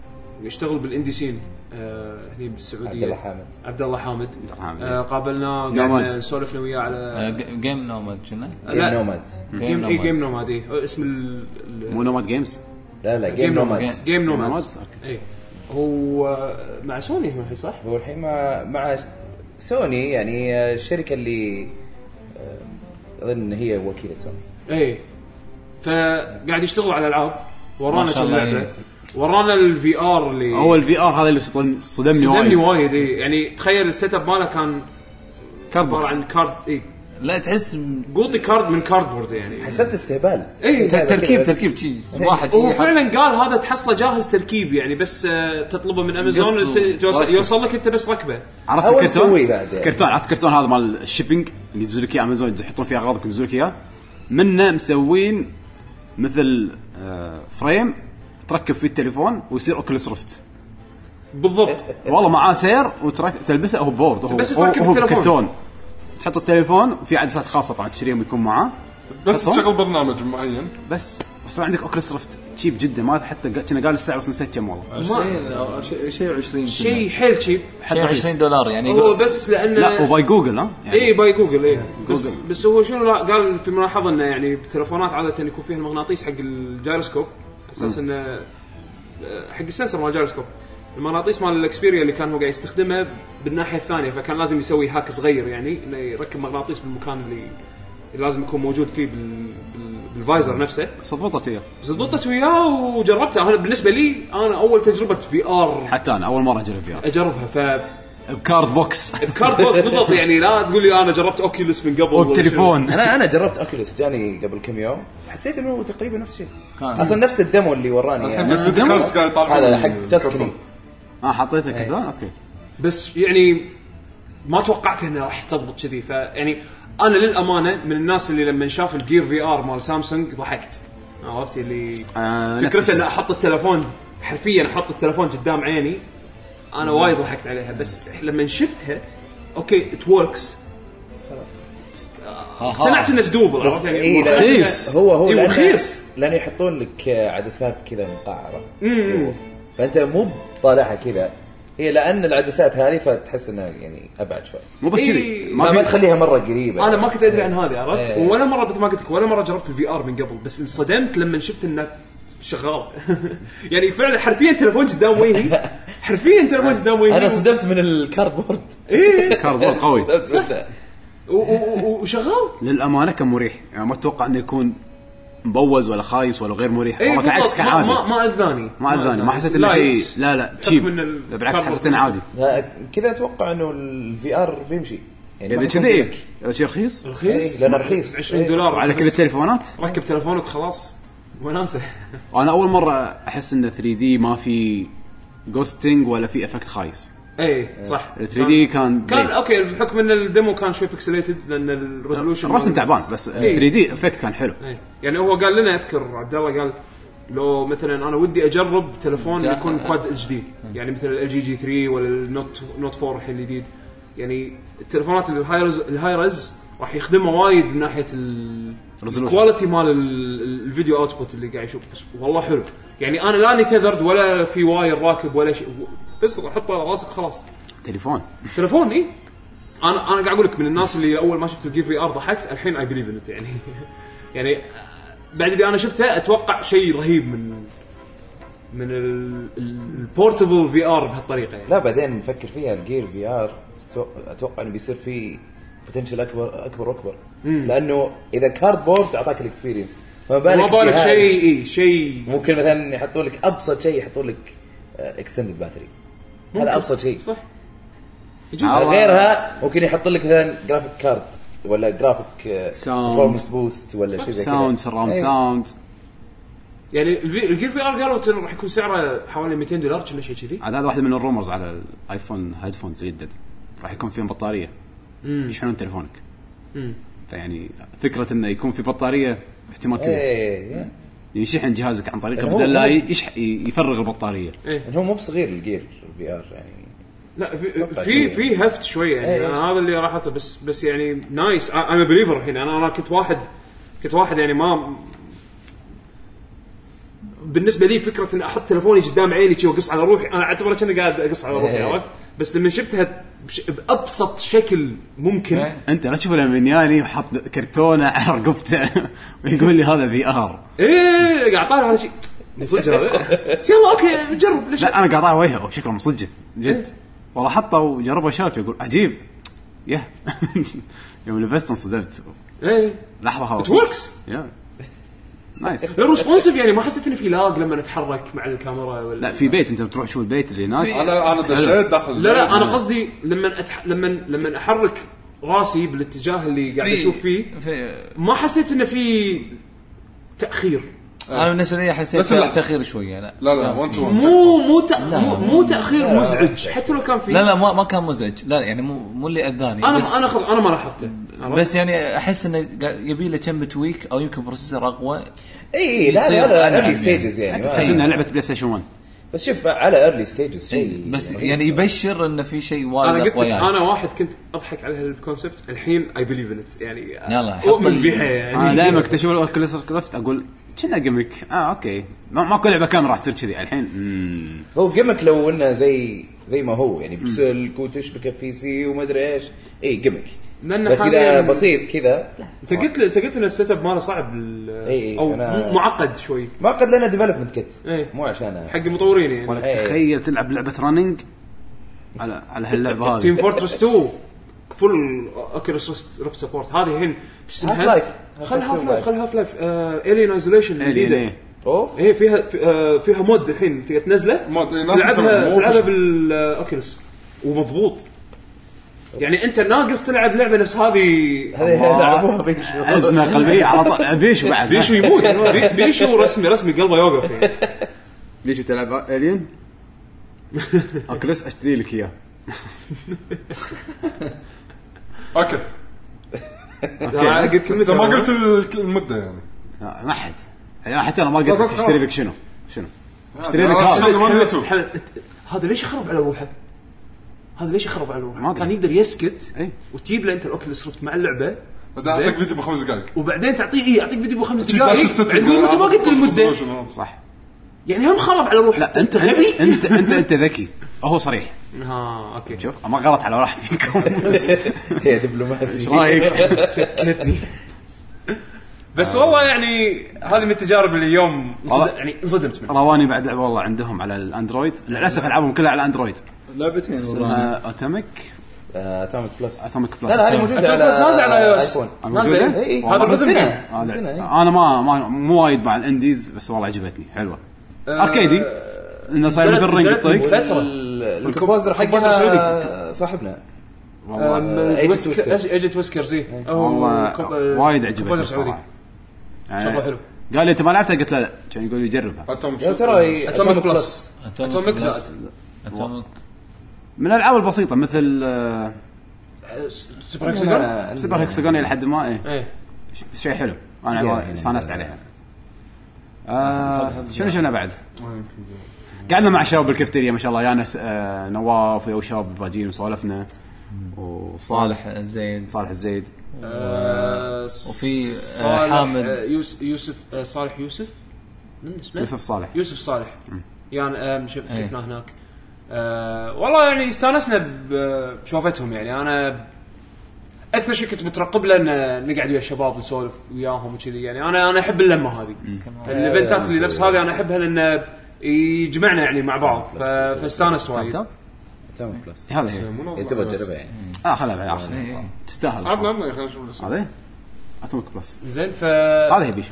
D: يشتغل بالاندي سين آه، هني بالسعوديه
C: عبد الله حامد.
D: عبد الله حامد
B: حامد.
D: آه، قابلناه
B: نوماد.
D: قعدنا نسولف انا وياه
E: آه،
D: على
E: ج- جيم نوماد كنا
C: جيم
D: لا. إيه،
C: نوماد
D: جيم اي
E: نوماد.
D: جيم نوماد إي. اسم ال- ال-
B: مو نوماد جيمز
C: لا لا جيم نوماد
D: جيم نوماد
B: نومادز، أوكي.
D: اي إيه. هو آه، مع سوني هو الحين صح؟
C: هو الحين مع مع سوني يعني الشركه اللي آه، اظن هي وكيله سوني
D: اي إيه. فقاعد يشتغل على العاب
E: ما
D: ورانا
E: شاء
D: كم
E: الله،
D: لعبه
E: إيه.
D: ورانا الفي ار اللي
B: هو الفي ار هذا اللي صدم- صدمني
D: صدمني
B: وايد
D: وايد اي يعني تخيل السيت اب ماله كان
B: كارد
D: عباره
B: بوكس
D: عن كارد اي
E: لا تحس م-
D: قوطي كارد من كاردبورد يعني
C: حسبت استهبال
D: إيه،
E: ت- تركيب تركيب شي واحد شي
D: هو
E: حط-
D: فعلا قال هذا تحصله جاهز تركيب يعني بس آه، تطلبه من امازون
E: قص و-
D: ت- توصل-
E: ركب.
D: يوصل لك انت بس ركبه
B: عرفت
C: أول
B: الكرتون؟
C: تسويه بعد يعني.
B: كرتون عرفت الكرتون هذا مال الشيبنج اللي ينزل لك اياه امازون يحطون فيه اغراضك ينزل لك اياه منه مسوين مثل آه، فريم تركب فيه التليفون ويصير اوكلس رفت
D: بالضبط
B: والله معاه سير وترك تلبسه هو بورد هو
D: بس
B: هو-
D: تركب
B: هو
D: التليفون.
B: كرتون تحط التليفون وفي عدسات خاصه طبعا تشتريهم يكون معاه
F: بس
B: حصل؟
F: تشغل برنامج معين
B: بس وصار عندك اوكلس رفت تشيب جدا ما حتى قا- كنا قال السعر بس نسيت كم والله
E: ما- شيء 20
D: شيء حيل شيب
E: شيء 20 دولار يعني
D: هو
E: يقول-
D: بس لانه
B: لا وباي جوجل ها يعني
D: اي إيه، باي جوجل اي بس
B: جوجل.
D: بس هو شنو لا- قال في ملاحظه انه يعني بالتليفونات عاده يكون فيها المغناطيس حق الجايروسكوب على اساس انه آه، حق السنسر مال الجايروسكوب المغناطيس مال الاكسبيريا اللي كان هو قاعد يستخدمه بالناحيه الثانيه فكان لازم يسوي هاك صغير يعني انه يركب مغناطيس بالمكان اللي اللي لازم يكون موجود فيه بال... بال... بالفايزر نفسه
B: صدفت هي
D: ضبطت وياه وجربتها انا بالنسبه لي انا اول تجربه في ار
B: حتى انا اول مره اجرب فيها
D: اجربها ف
B: بكارد
D: *laughs*
B: بوكس
D: بكارد بوكس بالضبط يعني لا تقول لي انا جربت اوكيولس من قبل
B: وبتليفون
C: انا انا جربت اوكيوليس جاني قبل كم يوم حسيت انه تقريبا نفس الشيء اصلا نفس الدمو اللي وراني
F: الحين
C: يعني
F: بس الكاست قاعد يطالعون
C: هذا حق
F: الكرتون.
C: تسكني
B: اه حطيته كذا
D: إيه.
B: اوكي
D: بس يعني ما توقعت انها راح تضبط كذي فيعني انا للامانه من الناس اللي لما شاف الجير في ار مال سامسونج ضحكت عرفت اللي
B: آه، نفس
D: فكرته
B: الشيء.
D: ان احط التلفون حرفيا احط التلفون قدام عيني انا وايد ضحكت عليها بس لما شفتها اوكي ات وركس اقتنعت انه دوبل
C: بس
D: عرفت
C: إيه
D: مؤخراً
C: لا-
B: رخيص.
C: هو هو
D: إيه،
C: لأن-
D: ورخيص.
C: لان يحطون لك عدسات كذا مقعره
D: أمم.
C: فانت مو طالعها كذا هي لان العدسات هذه فتحس انها يعني ابعد شوي
B: مو بس كذي
D: إيه،
C: ما, ما
B: ما في
C: تخليها مره قريبه
D: انا ما كنت ادري عن هذه عرفت
C: إيه.
D: ولا مره مثل ما قلت لك ولا مره جربت الفي ار من قبل بس انصدمت لما شفت انه شغال *laughs* يعني فعلا حرفيا تلفون قدام
B: *laughs*
D: وجهي حرفيا تلفون قدام
C: *laughs*
D: وجهي
C: انا صدمت من الكاردبورد
B: *laughs*
D: ايه
B: كارد
D: *laughs*
B: بورد قوي
D: و- و- و- وشغال
B: للامانه كان مريح يعني ما اتوقع انه يكون مبوز ولا خايس ولا غير مريح
D: ايه
B: والله كان عكس كان
D: بالضبط. ما- ما
B: عادي
D: ما اذاني
B: ما اذاني ما حسيت انه
D: لايت.
B: شيء لا لا
D: حط
B: تشيب
D: من ال-
B: بالعكس
D: كارد
B: حسيت انه عادي
C: ها، كذا اتوقع انه الفي ار بيمشي يعني ما
B: اذا
C: حيكون
B: كذي إيه،
C: فيك.
B: اذا شيء رخيص
D: رخيص
C: إيه، لأنه رخيص.
D: 20
C: إيه.
D: دولار
B: وعلى كل التليفونات
D: ركب تلفونك خلاص *laughs* وناسه
B: انا اول مره احس انه 3 دي ما في جوستنج ولا في افكت خايس
D: اي إيه، صح
B: ال 3 دي كان
D: كان
B: زين.
D: اوكي بحكم ان الديمو كان شوي بيكسليتد لان الريزولوشن
B: الرسم تعبان بس آه،
C: إيه.
B: 3 دي افكت كان حلو
D: إيه. يعني هو قال لنا اذكر عبد الله قال لو مثلا انا ودي اجرب تلفون
E: جا-
D: يكون كواد اتش دي يعني مثل ال جي جي 3 ولا النوت نوت 4 الحين الجديد يعني التلفونات الهاي رز الهاي رز راح يخدمه وايد من ناحيه ال-
B: Resolution.
D: الكواليتي مال ال- ال- الفيديو اوتبوت اللي قاعد يشوف بس والله حلو يعني انا لاني تذرد ولا في واير راكب ولا شيء بس احطه على راسك خلاص
B: تليفون
D: تلفون اي انا انا قاعد اقول لك من الناس اللي اول ما شفت الجير في ار ضحكت الحين اي بليف انت يعني *laughs* يعني بعد اللي انا شفته اتوقع شيء رهيب من من البورتبل في ار بهالطريقه يعني
C: لا بعدين نفكر فيها الجير في ار اتوقع انه بيصير فيه بوتنشل اكبر اكبر واكبر لانه اذا كاردبورد اعطاك الاكسبيرينس ما
D: ما
C: بالك
D: بالك
C: بجهاز.
D: شيء اي شيء
C: ممكن مثلا يحطوا لك ابسط شيء يحطوا لك اكستندد باتري
D: ممكن.
C: هذا ابسط شيء
D: صح
B: الله.
C: غيرها ممكن يحط لك مثلا جرافيك كارد ولا جرافيك
B: Sound.
C: فورمس بوست ولا شيء زي كذا إيه.
B: ساوند سراوند
C: أي.
B: ساوند
D: يعني الفي- الجير في ار قالوا إنه راح يكون سعره حوالي 200 دولار كنا شيء كذي
B: عاد هذا واحد من الرومرز على الايفون هيدفونز يدد راح يكون فيهم بطاريه يشحنون تليفونك
D: مم.
B: فيعني فكره انه يكون في بطاريه احتمال كبير يعني
C: ايه
B: يشحن جهازك عن طريقه
C: إيه، هو-
B: بدل لا
C: هو-
B: يشح يفرغ البطاريه
D: ايه
C: يعني هو مو بصغير الجير في ار يعني
D: لا
C: أتوقع
D: في في,
C: كذي.
D: في هفت شويه يعني
C: إيه.
D: أنا هذا اللي راح أحطه بس بس يعني نايس انا بليفر الحين انا انا كنت واحد كنت واحد يعني ما بالنسبه لي فكره ان احط تلفوني قدام عيني شي واقص على روحي انا اعتبره كأني قاعد اقص على روحي
C: إيه.
D: عرفت بس لما شفتها بش- بابسط شكل ممكن
E: إيه.
B: انت لا تشوف المنياني وحط كرتونه على رقبته *laughs* ويقول لي هذا في ار
D: ايه قاعد طالع على شيء من صدق هذا بس يلا اوكي نجرب ليش
B: لا انا قاعد على وجهه شكله مصجه
D: إيه.
B: جد والله حطه وجربه شاف يقول عجيب يه *laughs* يوم لبست انصدمت
D: ايه
B: لحظه هذا
D: It
B: صدق.
D: works.
B: يا. نايس
D: الريسبونسيف يعني ما حسيت ان في لاج لما اتحرك مع الكاميرا ولا
B: لا في بيت انت بتروح تشوف البيت اللي هناك
F: انا انا دشيت داخل
D: لا لا انا قصدي لما أتح... لما لما احرك راسي بالاتجاه اللي قاعد اشوف فيه
E: في
D: ما حسيت انه في تاخير
E: انا بالنسبه لي حسيت
F: بس لا.
E: تاخير شويه لا
F: لا لا
E: كان
F: وان
E: في-
F: تو
D: مو مو تأ... مو,
E: لا.
D: مو تاخير مزعج حتى لو كان في
E: لا لا ما, ما كان مزعج لا يعني مو مو اللي اذاني
D: انا
E: بس
D: انا خلاص انا ما لاحظته
E: بس يعني احس انه قا- يبي له كم بتويك او يمكن بروسيسور اقوى
C: اي إيه، لا
E: يصير
C: هذا
E: أنعم
C: ايرلي ستيجز يعني ما-
B: تحس انها لعبه بلاي ستيشن 1
C: بس شوف على ايرلي ستيجز شيء
E: بس
C: رهيب
E: يعني
C: صراحة.
E: يبشر انه في شيء
D: انا
E: وايد
D: قلت
E: اقوى
D: لك
E: يعني
D: انا واحد كنت اضحك على هالكونسبت الحين اي بليف ان يعني
E: يلا، حط
D: اؤمن
E: ال- آه،
D: بها
B: انا
D: يعني
B: دائما اكتشف الاوكيوليس كرافت اقول كنا جيمك اه اوكي ما ماكو لعبه كاميرا راح تصير كذي الحين مم.
C: هو جيمك لو انه زي زي ما هو يعني بسلك وتشبكه بي سي وما ادري ايش اي جيمك
D: لأن
C: بس
D: حالياً-
C: اذا بسيط كذا لا.
D: انت قلت لي- انت قلت ان السيت اب ماله صعب ال-
E: إيه،
C: إي،
D: او
C: أنا-
D: م- معقد شوي
C: ما قد لنا ديفلوبمنت كيت
D: إيه.
C: مو عشان
D: حق المطورين يعني
B: ولك
C: إيه.
B: تخيل تلعب لعبه رننج على على
D: *laughs*
B: هاللعبه
D: تيم
B: هذه
D: فورترس 2 فل اوكيوليس ريفت سبورت هذه الحين شو اسمها؟
C: Half Life.
D: خل
C: Half
D: هاف
C: Life.
D: لايف خل uh, هاف لايف الين ايزوليشن
B: Alien،
D: الجديده
B: إيه.
C: اوف
D: ايه فيها في- آه، فيها مود الحين تقدر تنزله
F: مود، إيه، ناس
D: تلعبها
F: تسوي- مو
D: تلعبها
F: فيش.
D: بالاوكيوليس ومضبوط يعني انت ناقص تلعب لعبه نفس هذه
C: هذه *laughs* يلعبوها بيشو
B: ازمه قلبيه على طول بيشو بعد
D: بيشو يموت بي- بيشو رسمي رسمي قلبه
F: *laughs*
D: يوقف يعني.
B: بيشو تلعب *laughs* الين اوكلس اشتري لك اياه
F: اوكي
D: أنا قلت
F: بس ما
D: كلمه
F: قلت ال- المده يعني
B: آه، ما حد يعني حتى انا ما قلت
F: خلاص،
B: لك اشتري
F: خلاص.
B: لك شنو شنو اشتري لك
F: أنا
B: هذا
F: أشتري- آه، ما قلت
D: حلو، أنت- هذا ليش يخرب على روحه؟ هذا ليش يخرب على روحه؟
B: ما أدري.
D: كان يقدر يسكت
B: إي.
D: وتجيب له انت الاوكيوليس ريفت مع اللعبه
F: بدي اعطيك
D: زين.
F: فيديو بخمس دقائق
D: وبعدين تعطيه اي اعطيك فيديو بخمس
F: شي داش
D: دقائق
F: الست
D: تقول انت ما قلت لي المده
B: صح
D: يعني هم خرب على روحه
B: لا انت
D: غبي آه،
B: انت انت انت ذكي هو صريح
D: ها اوكي
B: شوف ما غلط على واحد فيكم ايش
C: هي دبلوماسي
B: رايك؟
D: بس والله يعني هذه من التجارب اللي اليوم انصد-
B: والله.
D: يعني انصدمت منها
B: *laughs* رواني بعد لعبه والله عندهم على الاندرويد للاسف العابهم كلها على الاندرويد
E: لعبتين والله
B: اسمها اوتوميك
C: اتوميك آه، بلس
B: اتوميك
C: لا لا
B: بلس
C: هذه موجوده
D: أتوقع
C: على إيه،
D: بس نازل على iOS.
C: ايفون
B: موجودة؟
D: نازل.
C: اي
D: هذا
C: هذا
D: الرسم.
C: سنه
B: آه،
C: من سنه إي.
B: لا. انا ما ما مو وايد مع الانديز بس والله عجبتني حلوه اركيدي انه صاير
D: نزلت-
B: مثل رينج
D: نزلت
C: إيه.
B: يطق
D: بفترة.
C: وال- الكومبوزر
D: الكومبوزر
C: حقنا صاحبنا آه،
D: أم،
C: Agent
D: ويسك-
C: Whisker.
D: أج- ايجنت ويسكرز اي
B: والله وايد عجبتني يعني
D: الصراحه
B: الصراحه
D: شغله حلو.
B: قال لي انت ما لعبتها قلت له لا كان يقول لي جربها
D: إيه.
C: يا
F: إيه،
C: ترى
D: اتوميك بلس
E: Atomic
D: اتوميك
E: Blast.
D: زائد
E: اتوميك
B: من الالعاب البسيطه مثل آه،
D: سوبر هكسجون
B: سوبر هكسجون الى حد ما ايه
D: ايه
B: ش- شيء حلو انا استانست عليها آه، شنو شفنا بعد؟ قعدنا مع الشباب بالكافتيريا ما شاء الله يانس آه، نواف ويا شباب الباجين وسولفنا وصالح
E: صالح الزيد
B: صالح الزيد
D: آه،
E: وفي، آه،
D: صالح،
E: حامد.
D: آه، يوس- يوسف آه، صالح يوسف من اسمه
B: يوسف صالح
D: يوسف صالح يعني آم، شف-
E: إيه.
D: شفناه هناك آه، والله يعني استانسنا ب- بشوفتهم يعني انا اكثر شيء كنت مترقب له ان نقعد ويا الشباب ونسولف وياهم وكذي يعني انا انا احب اللمه هذه الايفنتات اللي نفس هذه انا احبها لان يجمعنا يعني مع بعض ف- فاستانست وايد
B: تاب
C: اتوميك بلس
B: إيه، هذا هي
D: إيه،
C: تبغى تجربها *laughs* يعني
B: اه خلها بعد آخر. تستاهل
F: عطنا عطنا خلينا نشوف الاسم.
B: هذا اتوميك بلس
D: زين ف
B: هذا هي بيشو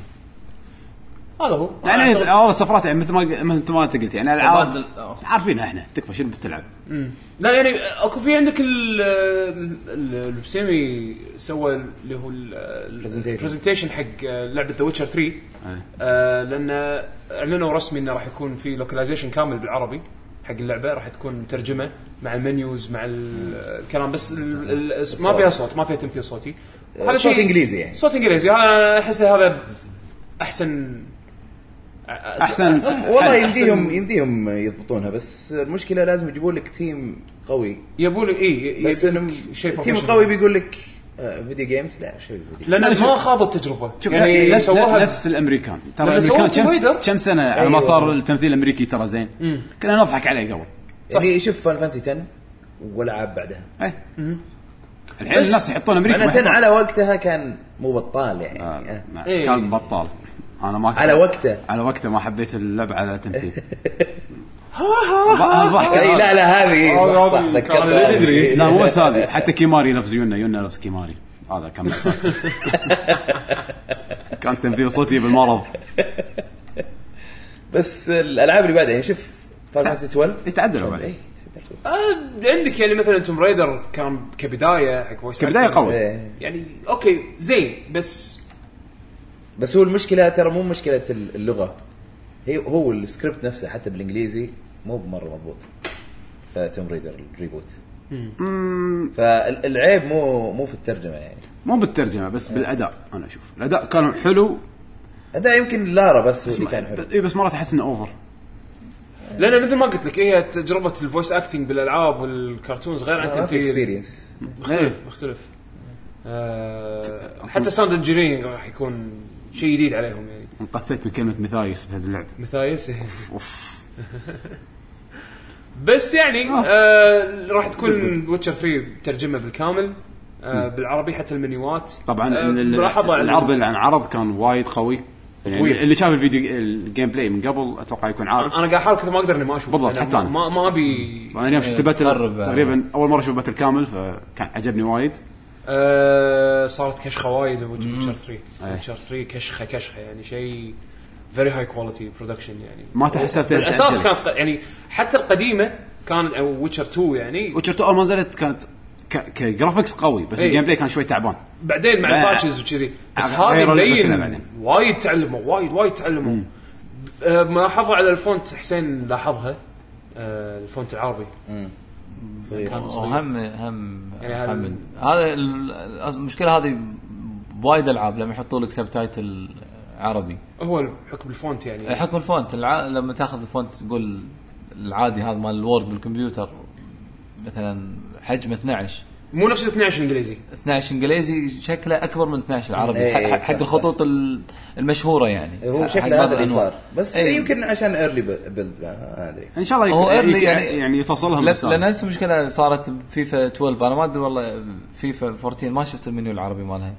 D: هذا هو
B: يعني
D: أعتقد-
B: والله السفرات يعني مثل ما مثل ما انت قلت يعني العاب
E: تبادل- آه.
B: عارفينها احنا تكفى شنو بتلعب
D: لا يعني اكو في عندك ال ال- البسيمي سوى اللي هو
C: Presentation.
D: البرزنتيشن حق لعبه ذا ويتشر 3 آه، لان اعلنوا رسمي انه راح يكون في لوكلايزيشن كامل بالعربي حق اللعبه راح تكون مترجمه مع المنيوز مع ال- الكلام بس ال- ال- ما
C: الصوت.
D: فيها صوت ما فيها تمثيل صوتي هذا
C: آه، صوت
D: شيء-
C: انجليزي يعني
D: صوت انجليزي انا احس هذا احسن
B: احسن س-
C: والله
B: حل.
C: يمديهم يمديهم يضبطونها بس المشكله لازم يجيبون لك تيم قوي
D: يبون اي
C: بس انهم تيم قوي بيقول لك آه، فيديو جيمز لا شو الفيديو
D: لان
B: أنا
D: ما
B: شوف-
D: خاضوا التجربه
B: شوف
D: يعني
B: يعني نفس
D: سووها
B: نفس الامريكان ترى
D: لما سووا
B: الامريكان كم س-
D: كوميدر.
B: كم سنه على
C: أيوة.
B: ما صار التمثيل الامريكي ترى زين كنا نضحك عليه قبل
C: يعني شوف فان فانسي 10 والعاب بعدها
B: إيه. الحين
D: بس
B: الناس يحطون امريكا ما
C: معناته
B: يحطون-
C: على وقتها كب- كان مو بطال يعني
B: آه،
C: آه.
B: نعم.
D: إيه.
B: كان بطال انا ما كنت-
C: على وقته
B: على وقته ما حبيت اللعب على
C: *laughs*
B: تمثيل الض- الضحكه
C: اي إيه، لا لا هذه
F: آه،
C: صح صح
F: هذه
C: ذكرت إيه،
F: كان legendary.
B: لا مو بس
C: *laughs*
B: هذه حتى كيماري نفس يونا يونا نفس كيماري هذا كان
C: *laughs*
B: مأساة كان تمثيل صوتي بالمرض
C: بس الالعاب اللي بعدها يعني شوف فان فانسي 12
B: يتعدلوا
C: إيه،
B: بعدين
C: تعدل.
D: آه، عندك يعني مثلا توم رايدر كان كبدايه حق فويس
B: كبدايه
D: acting.
B: قوي
C: إيه.
D: يعني اوكي زين بس
C: بس هو المشكله ترى مو مشكله اللغه هي هو السكريبت نفسه حتى بالانجليزي مو بمره مضبوط فتوم ريدر الريبوت فالعيب مو مو في الترجمه يعني
B: مو بالترجمه بس بالاداء انا اشوف الاداء كان حلو
C: اداء يمكن لارا بس هو
E: إيه،
C: اللي كان حلو
B: اي بس مرات احس انه اوفر
D: لان مثل ما قلت لك هي تجربه الفويس اكتنج بالالعاب والكارتونز غير عن
C: ما في
D: التمثيل
C: اكسبيرينس
D: مختلف مختلف آه، حتى ساوند انجينيرنج راح يكون شيء جديد عليهم يعني
B: انقثيت من كلمه مثايس بهذه اللعبه
D: مثايس
B: اوف
D: *laughs* بس يعني
B: آه.
D: آه راح تكون ويتشر 3 ترجمه بالكامل آه بالعربي حتى المنيوات
B: طبعا
D: آه،
B: ال- ال-
D: ملاحظه عن-
B: العرض اللي انعرض كان وايد قوي
D: طويل.
B: يعني اللي شاف الفيديو الجيم بلاي من قبل اتوقع يكون عارف
D: انا قاعد احاول كثر ما اقدر اني ما اشوف
B: بالضبط،
D: أنا
B: حتى أنا.
D: ما ما ابي
B: وانا اليوم
E: إيه،
B: شفت باتل
E: تخرب.
B: تقريبا اول مره اشوف باتل كامل فكان عجبني وايد
D: آه، صارت كشخه وايد ويتشر 3
B: إيه.
D: ويتشر 3 كشخه كشخه يعني شيء فيري هاي كواليتي برودكشن يعني
B: ما تحسبت
D: الاساس كانت يعني حتى القديمه كان او ويتشر 2 يعني
B: ويتشر 2 اول ما نزلت كانت ك- كجرافكس قوي بس
D: إيه.
B: الجيم بلاي كان شوي تعبان
D: بعدين مع
B: لا.
D: الباتشز وكذي بس
B: أغ-
D: هذه
B: غيروا اللي قلت لها
D: مبين
B: بعدين.
D: وايد تعلموا وايد وايد تعلموا آه، ملاحظه على الفونت حسين لاحظها آه، الفونت العربي
C: صغير
D: كان صغير.
E: وهم هم
D: يعني هذا
E: هم-
D: من-
E: هذا ال- المشكله هذه بوايد العاب لما يحطوا لك سب تايتل عربي
D: هو حكم الفونت
C: إيه.
D: يعني
E: حكم الفونت الع... لما تاخذ الفونت تقول العادي هذا مال الوورد بالكمبيوتر مثلا حجمه 12
D: مو نفس 12 انجليزي
E: 12 انجليزي شكله اكبر من 12 العربي
C: إيه،
E: حق-
C: إيه،
E: حق,
C: صح، إيه،
E: حق الخطوط ال- المشهوره يعني
C: هو
E: حق بعض
C: شكله هذا اللي
E: الأنواع.
C: صار بس
E: إيه.
C: يمكن عشان ايرلي بيلد ما ادري
B: ان شاء الله
E: هو
B: يك-
E: early
B: يك-
E: يعني-
B: يعني يتوصل لهم
E: لا
B: بالسالفة.
E: لان هسه المشكله صارت بفيفا 12 انا ما ادري والله فيفا 14 ما شفت المنيو العربي مالها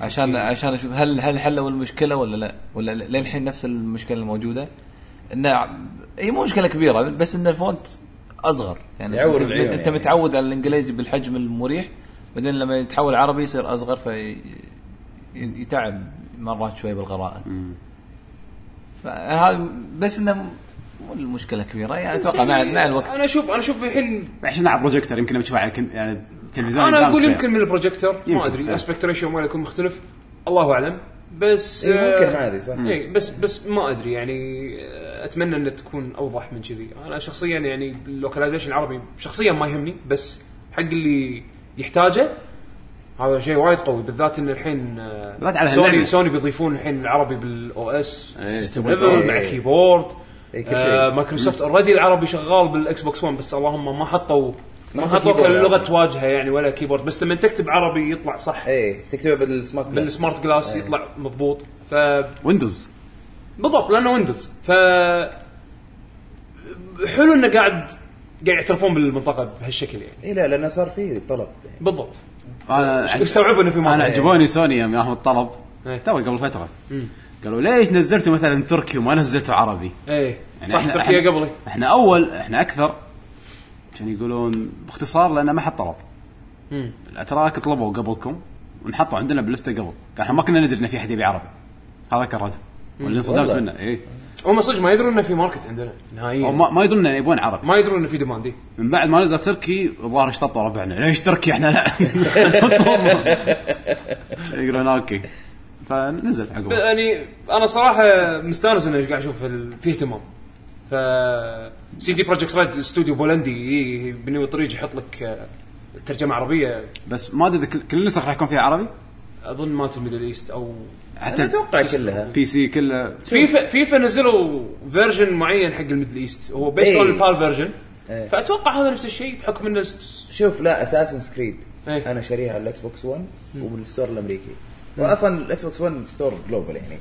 E: عشان عشان اشوف هل هل حلوا المشكله ولا لا ولا ل- للحين نفس المشكله الموجوده انه ع- هي مو مشكله كبيره بس ان الفونت اصغر يعني
C: يعور
E: انت,
C: العيون
E: انت
C: يعني.
E: متعود على الانجليزي بالحجم المريح بعدين لما يتحول عربي يصير اصغر في يتعب مرات شوي بالقراءه فهذا بس انه مو المشكله كبيره يعني اتوقع مع مع الوقت
D: انا اشوف انا اشوف الحين
B: عشان على بروجيكتور يمكن بتشوفها على كم- يعني التلفزيون
D: انا
B: قدامك
D: اقول
B: شوي.
D: يمكن من البروجيكتور ما
B: يمكن.
D: ادري
B: إيه.
D: اسبكت ريشيو ماله يكون مختلف الله اعلم بس
C: إيه،
D: آه،
C: ممكن هذه، صح.
D: إيه بس بس ما ادري يعني آه، اتمنى انها تكون اوضح من كذي انا شخصيا يعني اللوكلايزيشن العربي شخصيا ما يهمني بس حق اللي يحتاجه هذا شيء وايد قوي بالذات ان الحين آه،
B: بالذات على
D: سوني
B: هاللعبة.
D: سوني بيضيفون الحين العربي بالاو اس
B: إيه،
D: سيستم
B: تبغى
C: تغير.
D: مع كيبورد
C: إيه، كل
D: آه،
C: شيء.
D: مايكروسوفت اوريدي العربي شغال بالاكس بوكس 1 بس اللهم ما حطوا ما
C: ما
D: حطوا
C: حطوا كيبورد
D: كلغه
C: عربي.
D: واجهه يعني ولا كيبورد بس لما تكتب عربي يطلع
B: إيه.
D: صح
C: ايه تكتبها بالسمارت بلس.
D: بالسمارت جلاس يطلع مضبوط ف
B: ويندوز
D: بالضبط لانه ويندوز ف حلو انه قاعد قاعد يعترفون بالمنطقه بهالشكل يعني
B: إيه.
C: اي إيه، لا لانه صار فيه طلب
D: بالضبط
B: انا
D: استوعبوا انه في
B: انا
D: مانع
B: عجبوني سوني يوم ياهم الطلب
D: إيه.
B: تو قبل فتره قالوا ليش نزلتوا مثلا تركي وما نزلتوا عربي؟
D: ايه
B: يعني
D: صح
B: إحنا-
D: تركيا
B: إحنا-
D: قبلي
B: احنا اول احنا اكثر عشان يقولون باختصار لان ما حد طلب
D: مم.
B: الاتراك طلبوا قبلكم ونحطوا عندنا باللسته قبل كان احنا ما كنا ندري ان في احد يبي عربي هذا كان الرد واللي انصدمت
C: والله.
B: منه اي
D: هم صدق ما يدرون انه في ماركت عندنا نهائيا
B: ما ما يدرون ان يبون عربي
D: ما يدرون انه في ديماند إيه.
B: من بعد ما نزل تركي الظاهر اشتطوا ربعنا ليش تركي احنا لا
C: *laughs*
B: عشان يقولون اوكي فنزل عقب
D: يعني انا صراحه مستانس اني قاعد اشوف ال- في اهتمام ف سي دي بروجكت ريد استوديو بولندي إيه، بني طريق يحط لك آه، ترجمه عربيه
B: بس ما ادري إذا كل- كل النسخ راح يكون فيها عربي
D: اظن مالت الميدل ايست او
B: حتى
C: انا اتوقع كلها
B: بي سي كله آه،
D: فيفا فيفا نزلوا فيرجن معين حق الميدل ايست هو بيست
C: إيه.
D: اون البال فيرجن
C: إيه.
D: فاتوقع هذا نفس الشيء بحكم انه س-
C: شوف لا اساسن سكريد
D: إيه.
C: انا شاريها على الاكس بوكس 1 وبالستور الامريكي واصلا الاكس بوكس 1 ستور جلوبال يعني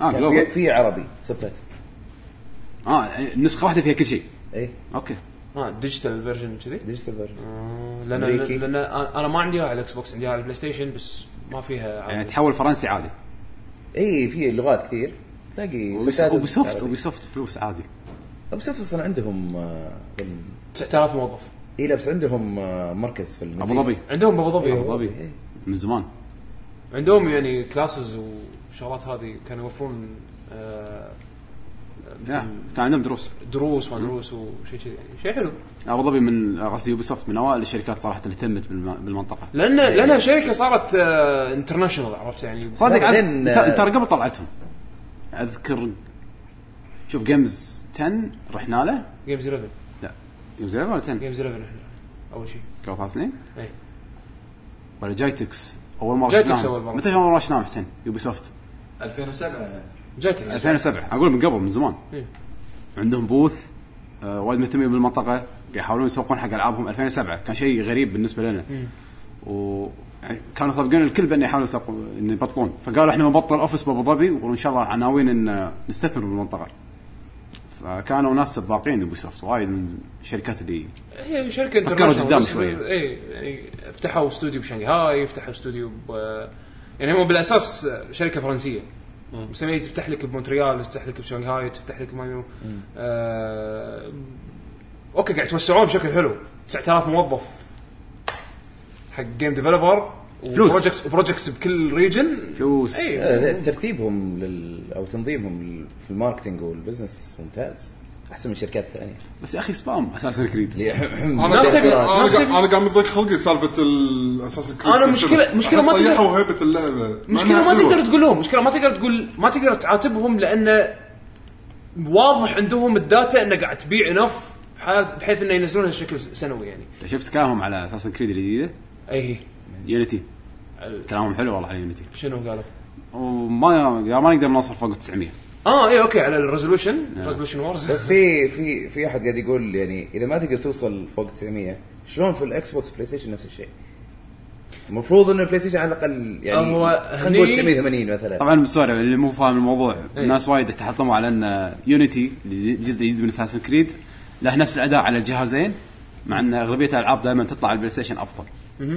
B: اه
C: كان في
B: جلوبال
C: في عربي سبتايتلز
B: اه نسخه واحده فيها كل شيء
C: اي
B: اوكي
D: ما ديجيتال فيرجن كذي
C: ديجيتال فيرجن
D: آه، لان
C: أمريكي.
D: لان أنا- انا ما عندي إياها على الاكس بوكس عندي إياها على البلاي ستيشن بس ما فيها
B: يعني
D: عربي.
B: تحول فرنسي عادي
C: اي إيه، في لغات كثير تلاقي subtitles
B: اوبي سوفت
C: عربي.
B: اوبي سوفت فلوس عادي
C: إيه. اوبي سوفت اصلا عندهم آه، بال-
D: 9000 موظف
C: اي لا بس عندهم آه، مركز في الميدل
B: ابو ظبي
C: إيست.
D: عندهم ابو ظبي
B: ابو
C: إيه.
B: ظبي من زمان
D: عندهم يعني كلاسز وشغلات هذه كانوا يوفرون آه،
B: يا، كان عندهم دروس
D: دروس ما دروس وشيء كذي يعني شيء حلو
B: ابو ظبي من قصدي يوبي سوفت من اوائل الشركات صراحه اللي اهتمت بالم- بالمنطقه
D: لان
C: إيه.
D: لانها شركه صارت انترناشونال عرفت يعني
B: صادق عاد-
C: بعدين-
B: انت انت قبل طلعتهم اذكر شوف جيمز 10 رحنا له
D: جيمز 11
B: لا جيمز 11 ولا 10
D: جيمز 11 احنا اول شيء
B: قبل ثلاث سنين
D: اي
B: ولا جايتكس اول مره
D: إيه. جايتكس
B: شفناهم.
D: أول مرة.
B: متى اول مره شفناهم حسين يوبي سوفت
E: 2007
D: جاتك
B: 2007 اقول من قبل من زمان
D: إيه.
B: عندهم بوث آه وايد مهتمين بالمنطقه قاعد يحاولون يسوقون حق العابهم 2007 كان شيء غريب بالنسبه لنا و يعني كانوا طابقين الكل بانه يحاولون يسوقون انه يبطلون فقالوا احنا بنبطل اوفيس بابو ظبي وان شاء الله عناوين ان نستثمر بالمنطقه فكانوا ناس سباقين يوبي سوفت وايد من الشركات اللي
D: هي شركه
B: فكروا
D: international
B: قدام
D: بس-
B: شوية.
D: اي يعني فتحوا استوديو بشنغهاي فتحوا استوديو ب يعني هم بالاساس شركه فرنسيه بس لما تفتح لك بمونتريال تفتح لك بشنغهاي تفتح لك مايو آه اوكي قاعد يتوسعون بشكل حلو 9000 موظف حق جيم ديفلوبر
B: فلوس.
D: وبروجكتس وبروجكتس بكل ريجن
B: فلوس
D: اي
C: إيه. آه، ترتيبهم لل... او تنظيمهم لل- في الماركتينج والبزنس ممتاز احسن من شركات ثانيه
B: بس يا اخي سبام اساسا كريد
F: انا
D: ناس
F: قاعد-
D: تبي-
F: أنا
D: ناس
F: قاعد-
D: تبي-
F: انا قاعد متضايق خلقي سالفه الاساس
D: أنا مشكلة- مشكلة ما
F: تقدر
D: تقدر-
F: وهيبه اللعبه
D: مشكله ما
F: إنها حلوة.
D: تقدر تقول لهم مشكله ما تقدر تقول ما تقدر تعاتبهم لان واضح عندهم الداتا انه قاعد تبيع انف بحيث انه ينزلونها بشكل سنوي يعني
B: شفت كلامهم على اساس كريد الجديده
D: اي
B: يونيتي كلامهم حلو والله على يونيتي
D: شنو قالوا؟
B: وما يا ما نقدر نوصل فوق 900
D: اه اي اوكي على الريزولوشن ريزولوشن وورز
C: *laughs* بس في في في احد قاعد يقول يعني اذا ما تقدر توصل فوق 900 شلون في الاكس بوكس بلاي ستيشن نفس الشيء؟ المفروض انه البلاي ستيشن على الاقل يعني
D: هو
C: خلينا نقول
D: هني-
C: 980 مثلا
B: طبعا المستوى اللي مو فاهم الموضوع ناس وايد تحطموا على ان يونيتي الجزء الجديد من اساسن كريد له نفس الاداء على الجهازين مع ان اغلبيه الالعاب دائما تطلع على البلاي ستيشن افضل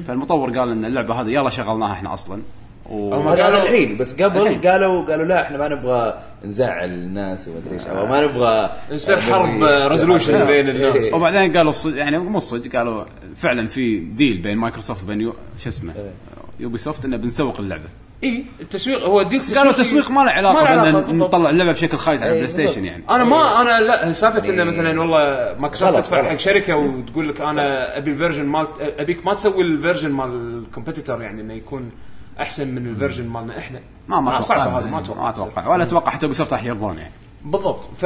B: فالمطور قال ان اللعبه هذه يلا شغلناها احنا اصلا و...
C: هم قالوا
D: قالوا-
C: الحين بس
B: الحين.
C: قبل قالوا قالوا لا احنا ما نبغى نزعل الناس وما ادري ايش او ما نبغى
D: يصير
C: آه،
D: حرب،
C: نبغي-
D: آه، resolution
C: *laughs* آه،
D: بين الناس.
C: إيه.
B: وبعدين قالوا الصج... يعني مو الصدق قالوا فعلا في ديل بين مايكروسوفت وبين يو... شو اسمه يوبي سوفت انه بنسوق اللعبه
D: اي إيه، التسويق هو ديل
B: بس قالوا التسويق ما له علاقه بان
D: بالضبط.
B: نطلع اللعبه بشكل خايس على
C: أي،
B: البلاي ستيشن
C: بالضبط.
B: يعني
D: انا ما انا لا سالفه انه
C: إيه.
D: مثلا والله مايكروسوفت
C: غلط،
D: تدفع
C: غلط.
D: حق شركه وتقول لك انا ابي الفيرجن مال ابيك ما تسوي الفيرجن مال الكومبيتيتور يعني انه يكون احسن من الفيرجن مالنا احنا
B: ما ما اتوقع
D: صعبه هذا ما اتوقع
B: ما اتوقع ولا اتوقع حتى يوبي سوفت راح يرضون يعني
D: بالضبط ف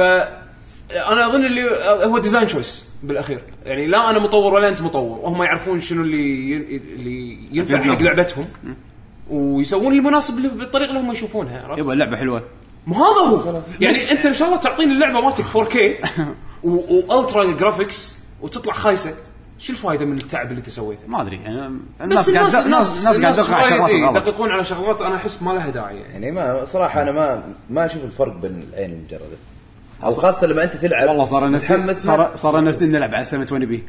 D: انا اظن اللي هو ديزاين تشويس بالاخير يعني لا انا مطور ولا انت مطور وهم يعرفون شنو اللي ين- اللي ينفع
B: أكيد
D: حق
B: لهم.
D: لعبتهم ويسوون المناسب له- بالطريقه اللي هم يشوفونها عرفت؟
B: يبا اللعبه حلوه
D: مو هذا هو يعني انت ان شاء الله تعطيني اللعبه مالتك
B: *laughs*
D: 4K و- والترا جرافيكس وتطلع خايسه شو الفائده من التعب اللي انت سويته؟
B: ما ادري يعني
D: بس
B: الناس قاعد
D: الناس
B: الناس الناس قاعد تدق على
D: وايد،
B: شغلات
D: إيه،
B: غلط
D: يدققون على شغلات انا احس ما لها داعي يعني
C: يعني ما صراحه انا ما ما اشوف الفرق بين العين المجرده او خاصه لما انت تلعب
B: والله صار الناس
C: متحمس ما-
B: صار صار الناس نلعب على 720 بي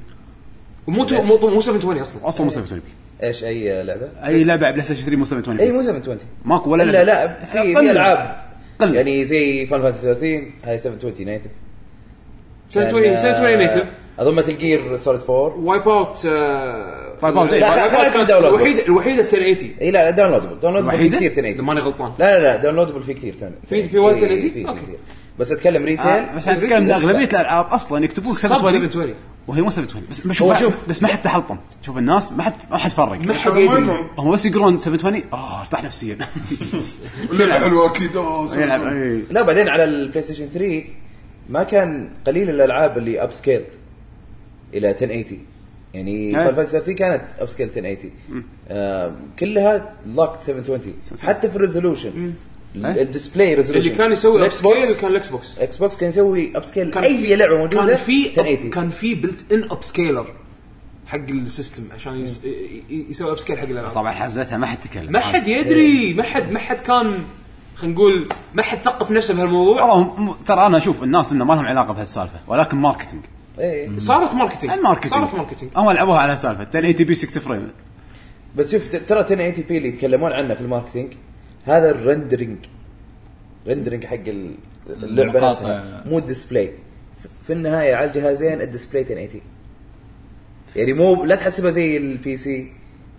D: ومو
B: يعني
D: تو- مو مو 720 اصلا
B: اصلا مو 720
D: إيه،
B: بي
C: ايش اي لعبه؟
B: اي لعبه على بلاي ستيشن 3 مو 720
C: اي
B: بي
C: مو 720
B: ماكو ولا
C: لا
B: لعبة.
C: لا في
B: قل.
C: في العاب
B: قل.
C: يعني زي فان فانتسي 30 هاي 720 نيتف
B: يعني
D: 720 720 نيتف
C: اظن مثل جير سوليد 4
D: وايب اوت uh,
B: Wipe Out، إيه.
C: لا، خليك من داونلود.
D: الوحيده الوحيده 1080
C: اي لا لا داونلودبل داونلودبل في
B: وحيدة؟
C: كثير
D: اذا
C: 1080
D: ماني غلطان
C: لا لا لا داونلودبل في كثير تاني
D: في- في وايد
C: إي،
D: 1080
C: في
D: أوكي.
C: كثير بس اتكلم
B: آه،
C: ريتيل
B: بس
D: إيه،
B: انا اتكلم ان اغلبيه الالعاب اصلا يكتبون لك
D: سب
B: 720
D: 720
B: وهي مو 720 بس
C: هو
B: بشوف
C: شوف.
B: شوف بس ما حد تحلطم شوف الناس ما حد ما حد
D: ما
B: فرق
D: حد يدري
F: المهم،
B: هم بس يقرون 720 اه ارتاح
D: *laughs*
B: نفسيا
D: إيه.
F: اللعبه حلوه اكيد آه،
B: يلعب
F: سلام.
B: إي.
C: لا بعدين على البلاي ستيشن 3 ما كان قليل الالعاب اللي اب سكيل الى 1080 يعني
D: إيه.
B: أي.
C: فان فانتسي 30 كانت اب سكيل 1080 آه كلها لوكت 720 حتى في الريزولوشن
B: أي.
C: الديسبلاي ريزولوشن
D: إيه. اللي كان يسوي upscale كان الإكس بوكس.
C: اكس بوكس كان يسوي اب سكيل
D: كان
C: اي لعبه موجوده
D: كان في
C: 1080
D: كان في بلت ان اب سكيلر حق السيستم عشان يس- ي- ي- يسوي اب سكيل حق الالعاب
B: طبعا حزتها ما حد تكلم
D: ما حد يدري ما حد ما حد كان خلينا نقول ما حد ثقف نفسه بهالموضوع
B: والله هم- م- ترى انا اشوف الناس انه ما لهم علاقه بهالسالفه ولكن ماركتنج
C: إيه.
D: صارت ماركتينج
B: الماركتينج
D: صارت ماركتينج
B: هم لعبوها على إيه، سالفه 1080 بي 60 فريم
C: بس شوف ترى 1080 بي اللي يتكلمون عنه في الماركتينج هذا الرندرنج رندرنج حق ال- اللعبه
E: المقاطع.
C: نفسها مو الديسبلاي ف- في النهايه على الجهازين الديسبلاي 1080 يعني مو لا تحسبها زي البي سي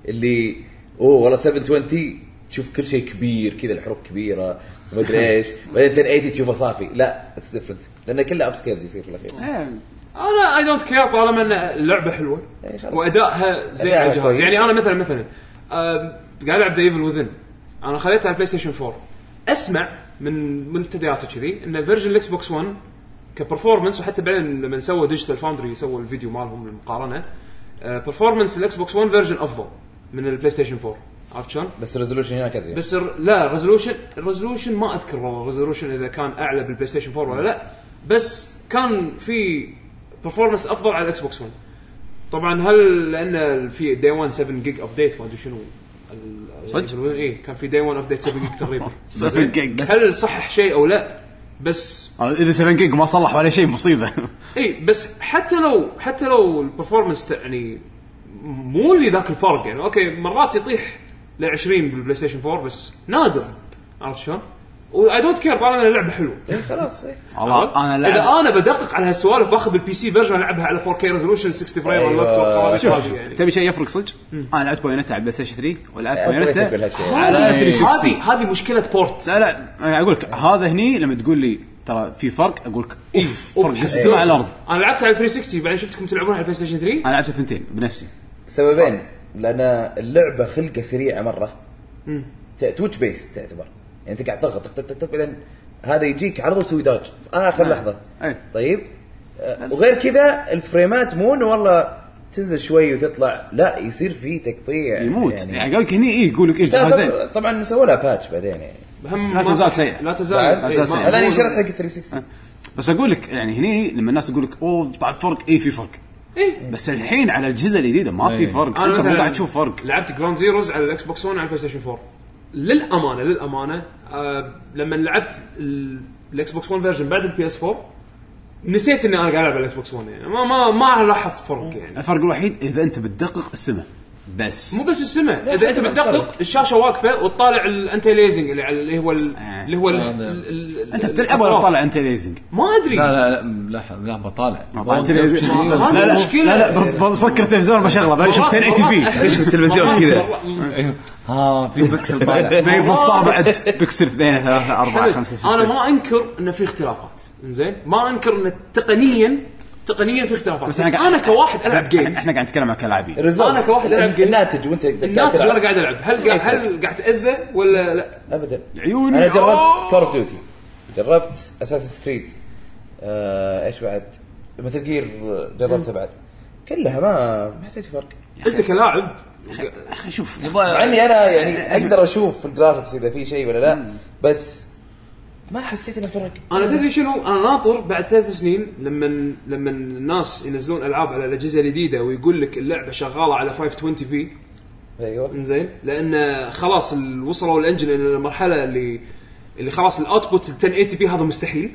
C: اللي اوه والله 720 تشوف كل شيء كبير كذا الحروف كبيره ما ادري ايش بعدين 1080 تشوفه صافي لا اتس ديفرنت لانه كله اب سكيل يصير في الاخير
B: آه.
D: إيه. انا اي دونت كير طالما ان اللعبه حلوه
C: إيه، خلاص.
D: وادائها زين على
C: أدائها
D: الجهاز
C: كويس.
D: يعني انا مثلا مثلا آم، قاعد العب ذا ايفل وذن انا خليتها على البلاي ستيشن 4 اسمع من منتديات وكذي ان فيرجن الاكس بوكس 1 كبرفورمنس وحتى بعدين لما سووا ديجيتال فاوندري سووا الفيديو مالهم آه، للمقارنه برفورمنس الاكس بوكس 1 فيرجن افضل من البلاي ستيشن 4 عرفت شلون؟
C: بس الريزولوشن هناك ازين
D: بس الر- لا الريزولوشن الريزولوشن ما اذكر والله الريزولوشن اذا كان اعلى بالبلاي ستيشن 4 ولا لا بس كان في برفورمانس افضل على الاكس بوكس 1 طبعا هل لان في دي 1 7 جيج ابديت ما ادري شنو ال-
B: صدق؟
D: اي كان في دي 1 ابديت 7 جيج تقريبا
B: 7 جيج
D: هل صحح شيء او لا بس
B: آه، اذا 7 جيج ما صلح ولا شيء مصيبه
D: اي إيه، بس حتى لو حتى لو البرفورمانس يعني مو اللي ذاك الفرق يعني اوكي مرات يطيح ل 20 بالبلاي ستيشن 4 بس نادر عرفت شلون؟ واي دونت كير طالما إن اللعبه حلوه
C: خلاص إيه.
B: والله انا
D: اذا
B: لعب
D: انا بدقق على هالسوالف باخذ البي سي فيرجن العبها على 4K ريزولوشن 60 فريم
C: أيوة.
D: والوقت
B: أيوه. شوف
D: والخوارج
B: شوف،
D: يعني
B: تبي شيء يفرق صدق انا لعبت بايونيتا على بلاي ستيشن 3 ولعبت
C: أبغى يتقبل
B: بايونيتا
C: هالشيء.
B: على 360
D: هذه هذه مشكله بورت
B: لا لا أنا اقول لك هذا هني لما تقول لي ترى في فرق اقول لك اوف
D: أوف،
B: فرق
D: حس-
B: السماء على الارض
D: انا لعبتها على 360 بعدين شفتكم تلعبون على البلاي ستيشن 3
B: انا لعبت الثنتين بنفسي
C: سببين لان اللعبه خلقه سريعه مره تويتش بيس تعتبر يعني انت قاعد تضغط تك تك تك بعدين هذا يجيك على طول تسوي داج في اخر لحظه
B: أي.
C: طيب آه، وغير كذا الفريمات مو انه والله تنزل شوي وتطلع لا يصير في تقطيع
B: يموت يعني, يعني يقول لك هني اي يقول لك ايش
C: لا،
B: جهاز زين
C: طب- طبعا سووا لها باتش بعدين يعني
D: هم
B: لا
D: ما-
B: تزال سيئة.
D: لا تزال
C: بعد-
D: إيه، ما-
B: تزال سيئة.
C: الان انشرت حق 360
B: بس اقول لك يعني هني لما الناس تقول لك اوه طلع فرق اي في فرق
D: إيه.
B: بس الحين على الاجهزه الجديده ما في
E: إيه.
B: فرق
D: أنا
B: انت مو
D: مثلاً
B: قاعد تشوف فرق
D: لعبت جراوند زيروز على الاكس بوكس 1 على البلاي ستيشن 4 للامانه للامانه آه لما لعبت ال- الاكس بوكس 1 فيرجن بعد البي اس 4 نسيت اني انا قاعد العب على الاكس بوكس 1 يعني ما ما ما لاحظت فرق يعني
B: الفرق الوحيد اذا انت بتدقق السماء بس
D: مو بس السماء اذا انت بتدقق الشاشه واقفه وتطالع الانتي ليزنج اللي على اللي هو ال-
B: آه.
D: اللي هو ال-
E: آه، نعم.
D: ال- ال- ال-
B: انت بتلعب ولا
D: الأطراف.
B: طالع انت ليزنج
D: ما ادري
E: لا لا لا ملاحظ لا بطالع
B: طالع انت ليزنج
D: هذا
B: لا لا
D: مشكلة.
B: لا لا ب- بسكر التلفزيون بشغله بشوف 1080 *laughs*
D: والله-
B: بي
G: تشوف التلفزيون كذا
D: والله-
E: *laughs* ها *laughs* في
B: *laughs*
E: بكسل طالع
B: بي- بسطار بعد بكسل اثنين ثلاثة أربعة خمسة
D: حمد، انا
B: ستة
D: ما انكر انه في اختلافات زين ما انكر انه تقنيا تقنيا في اختلافات بس, انا,
B: قاعد-
D: كواحد العب جيمز
B: احنا قاعد نتكلم عن كلاعبين
C: الريزولت.
D: أنا كواحد ألعب جيم.
C: الناتج وانت قاعد
D: الناتج
C: تلعب.
D: وانا قاعد العب هل قاعد هل قاعد اتاذى ولا لا؟
C: ابدا
B: عيوني
C: انا جربت
B: آه.
C: كور اوف ديوتي جربت اساس سكريد آه ايش بعد مثل جير جربتها بعد كلها ما ما حسيت في فرق
D: انت كلاعب
B: اخي شوف
C: مع اني انا يعني اقدر اشوف في الجرافكس اذا في شيء ولا لا بس ما حسيت انه فرق
D: انا تدري شنو؟ انا ناطر بعد ثلاث سنين لما لما الناس ينزلون العاب على الاجهزه الجديده ويقول لك اللعبه شغاله على 520 بي
C: ايوه
D: انزين لان خلاص ال- وصلوا الانجن الى المرحله اللي اللي خلاص الاوتبوت ال 1080 بي هذا مستحيل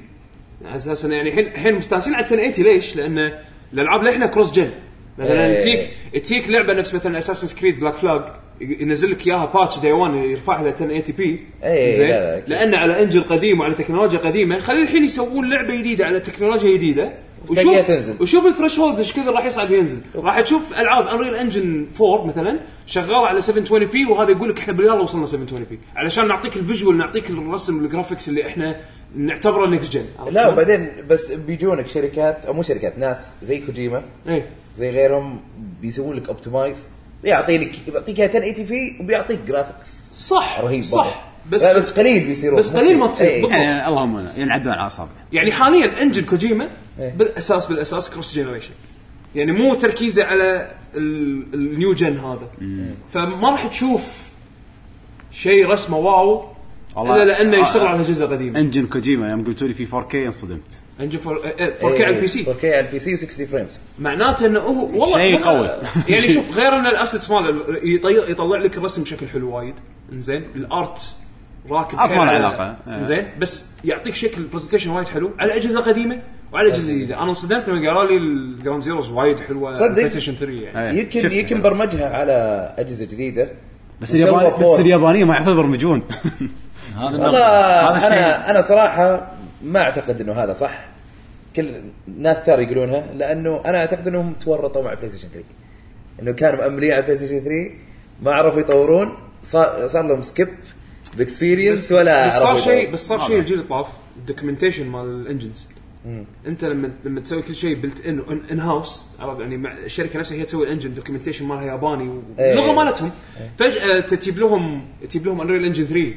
D: اساسا يعني الحين الحين مستانسين على 1080 ليش؟ لان الالعاب للحين كروس جن مثلا
C: إيه.
D: تجيك تجيك لعبه نفس مثلا اساسن كريد بلاك فلاج ينزل لك اياها باتش داي 1 يرفعها ل 1080 بي
C: إيه،
D: زين
C: لا، لا، أكيد.
D: لان على انجن قديم وعلى تكنولوجيا قديمه خلي الحين يسوون لعبه جديده على تكنولوجيا جديده
C: تلاقيها تنزل.
D: وشوف الثريش هولد ايش كثر راح يصعد وينزل راح تشوف العاب انريل انجن 4 مثلا شغاله على 720 بي وهذا يقول لك احنا باليلا وصلنا 720 بي علشان نعطيك الفيجوال نعطيك الرسم الجرافكس اللي احنا نعتبره نكست جن
C: لا وبعدين بس بيجونك شركات او مو شركات ناس زي كوجيما
D: ايه
C: زي غيرهم بيسوون لك اوبتمايز بيعطيك بيعطيك 1080 بي وبيعطيك جرافكس
D: صح
C: رهيب
D: صح
C: بس
D: بس
C: بس قليل بيصيرون
D: بس قليل ما تصير.
C: إيه.
D: بالضبط.
B: يعني اللهم لا، ينعدون على اعصابنا
D: يعني حاليا انجن كوجيما
C: إيه.
D: بالاساس بالاساس كروس جنريشن يعني مو تركيزه على ال- النيو جن هذا فما راح تشوف شيء رسمه واو
B: والله.
D: الا لانه
B: آه،
D: يشتغل
B: آه.
D: على اجهزه قديمه
B: انجن كوجيما يوم قلتوا لي في 4K انصدمت
D: انجن 4 كي على البي سي آه،
C: 4K إيه، على البي سي و60 فريمز
D: معناته انه هو والله
B: شيء قوي.
D: والله-
B: *laughs*
D: يعني
B: شيء.
D: شوف غير ان الاسيتس ماله يطي- يطلع لك الرسم بشكل حلو وايد انزين الارت راكب
B: الارت ما له
D: كان على-
B: علاقة. آه.
D: انزين بس يعطيك شكل برزنتيشن وايد حلو على اجهزه قديمه وعلى اجهزه
B: إيه.
D: جديده انا انصدمت لما قالوا لي الجراوند زيروز وايد حلوه على
C: صدق؟
D: البلاي ستيشن 3 يعني
B: إيه،
C: يمكن
B: شفتها.
C: يمكن برمجها على اجهزه جديده
B: بس
C: وسوى
B: الياباني
C: طور.
B: بس اليابانيه ما يعرفون يبرمجون
E: هذا
C: والله
E: النقطة. هذا الشيء
C: انا انا صراحه ما اعتقد انه هذا صح كل ناس كثار يقولونها لانه انا اعتقد انهم تورطوا مع بلاي ستيشن 3 انه كانوا مأملين على بلاي ستيشن 3 ما عرفوا يطورون صار صار لهم سكيب باكسبيرينس ولا آه.
D: بس صار
C: عرفوا
D: شيء
C: يطورون.
D: بس صار شيء الجيل الطاف الدوكيومنتيشن مال الانجنز انت لما لما تسوي كل شيء بلت ان ان هاوس عرفت يعني مع الشركه نفسها هي تسوي الانجن دوكيومنتيشن مالها ياباني واللغه
C: إيه.
D: مالتهم فجاه تجيب لهم تجيب لهم انريل انجن 3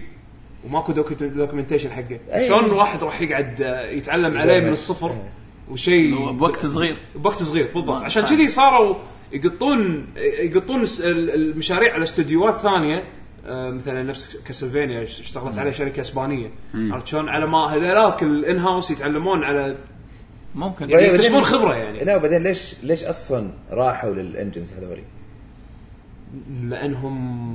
D: وماكو دوكيومنتيشن حقه
C: إيه.
D: شلون واحد راح يقعد آه، يتعلم عليه من الصفر
C: إيه.
D: وشيء
E: بوقت صغير
D: بوقت صغير
B: نعم،
D: بالضبط عشان كذي صاروا يقطون يقطون الس- ال- المشاريع على استديوهات ثانيه آه، مثلا نفس كاسلفينيا اش- اشتغلت عليه
B: نعم.
D: شركه اسبانيه عرفت شلون على ما هذولاك الان هاوس يتعلمون على
E: ممكن
D: يعني
C: إيه، بعدين-
D: يكتسبون خبره يعني
C: لا وبعدين ليش ليش اصلا راحوا للانجنز هذولي؟
D: لانهم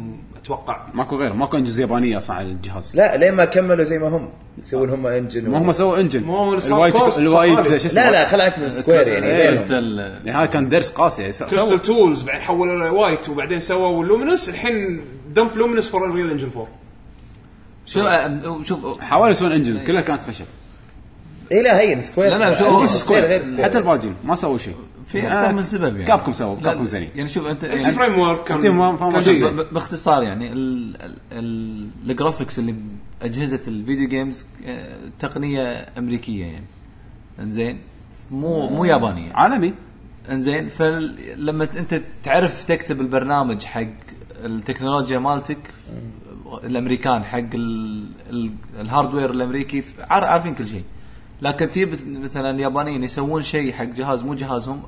D: اتوقع
B: *laughs* ماكو غير ماكو انجز يابانيه اصلا على الجهاز
C: لا لين ما كملوا زي ما هم يسوون هم انجن
B: ما هم سووا انجن
D: ما هو صار
B: الوايد
D: كوست،
B: الوايد
D: صار
B: شو اسمه
C: لا لا خلعك من سكوير يعني
B: إيه.
C: غيرهم.
E: كريستال
B: يعني هذا كان درس قاسي يعني سووا-
D: كريستال تولز بعدين حولوا الى وايت وبعدين سووا لومينس الحين دمب لومينس فور انريل انجن 4
B: إيه.
E: شوف أم- شوف
B: حاولوا يسوون انجنز كلها كانت فشل
C: اي لا هين سكوير
E: لا، لا، شو-
C: آه،
E: هو
C: سكوير
E: سكوير.
C: غير سكوير
B: حتى الباجين ما سووا شيء
E: في اكثر من سبب يعني
B: كابكم سووا
E: لا،
B: كابكم زينين
E: يعني شوف انت
D: يعني فريم ورك كان
B: تيم ما- ما-
D: كان
B: ما-
D: شيء
B: ما-
D: زين.
E: ب- باختصار يعني ال- ال- ال- الجرافيكس اللي باجهزه الفيديو جيمز آه، تقنيه امريكيه يعني انزين مو مو يابانيه
B: عالمي
E: انزين فلما انت تعرف تكتب البرنامج حق التكنولوجيا مالتك الامريكان حق ال- ال- الهاردوير الامريكي ف- عار- عارفين كل شيء لكن تجيب مثلا اليابانيين يسوون شيء حق جهاز مو جهازهم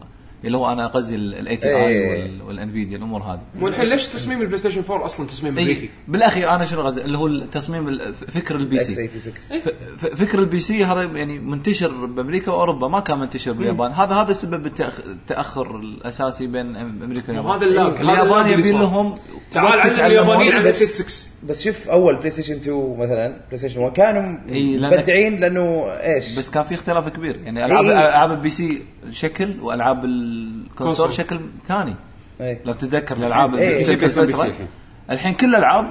E: اللي هو انا قصدي الاي تي اي
C: إيه.
E: والانفيديا الامور هذه إيه.
D: والحين ليش تصميم البلاي ستيشن 4 اصلا
B: إيه.
D: تصميم
E: اي
D: امريكي؟
E: بالاخير انا شنو قصدي اللي هو التصميم ال- ف- فكر البي
C: اكس
E: سي
C: 86
E: ف- ف- فكر البي سي هذا يعني منتشر بامريكا واوروبا ما كان منتشر باليابان هذا هذا سبب التأخ- التاخر الاساسي بين أم- امريكا واليابان
D: وهذا اللاج، هذا اللاج
E: اليابان
D: اللي
E: يبي
D: صار.
E: لهم
D: تعال
E: وقت
D: علم
E: يتعلمون.
D: اليابانيين على
C: بس-
D: بلاي 6
C: بس شوف اول بلاي ستيشن 2 مثلا بلاي ستيشن 1 كانوا
E: إي، لأنك-
C: مبدعين لانه ايش؟
E: إيه، بس كان في اختلاف كبير يعني العاب
C: إيه.
E: العاب البي سي شكل والعاب الكونسول
D: كونسول.
E: شكل ثاني
C: إيه.
E: لو تتذكر الالعاب
C: إيه.
E: اللي
C: شكل
E: تلك
B: بي سي
E: الفترة.
B: الحين.
E: الحين كل الالعاب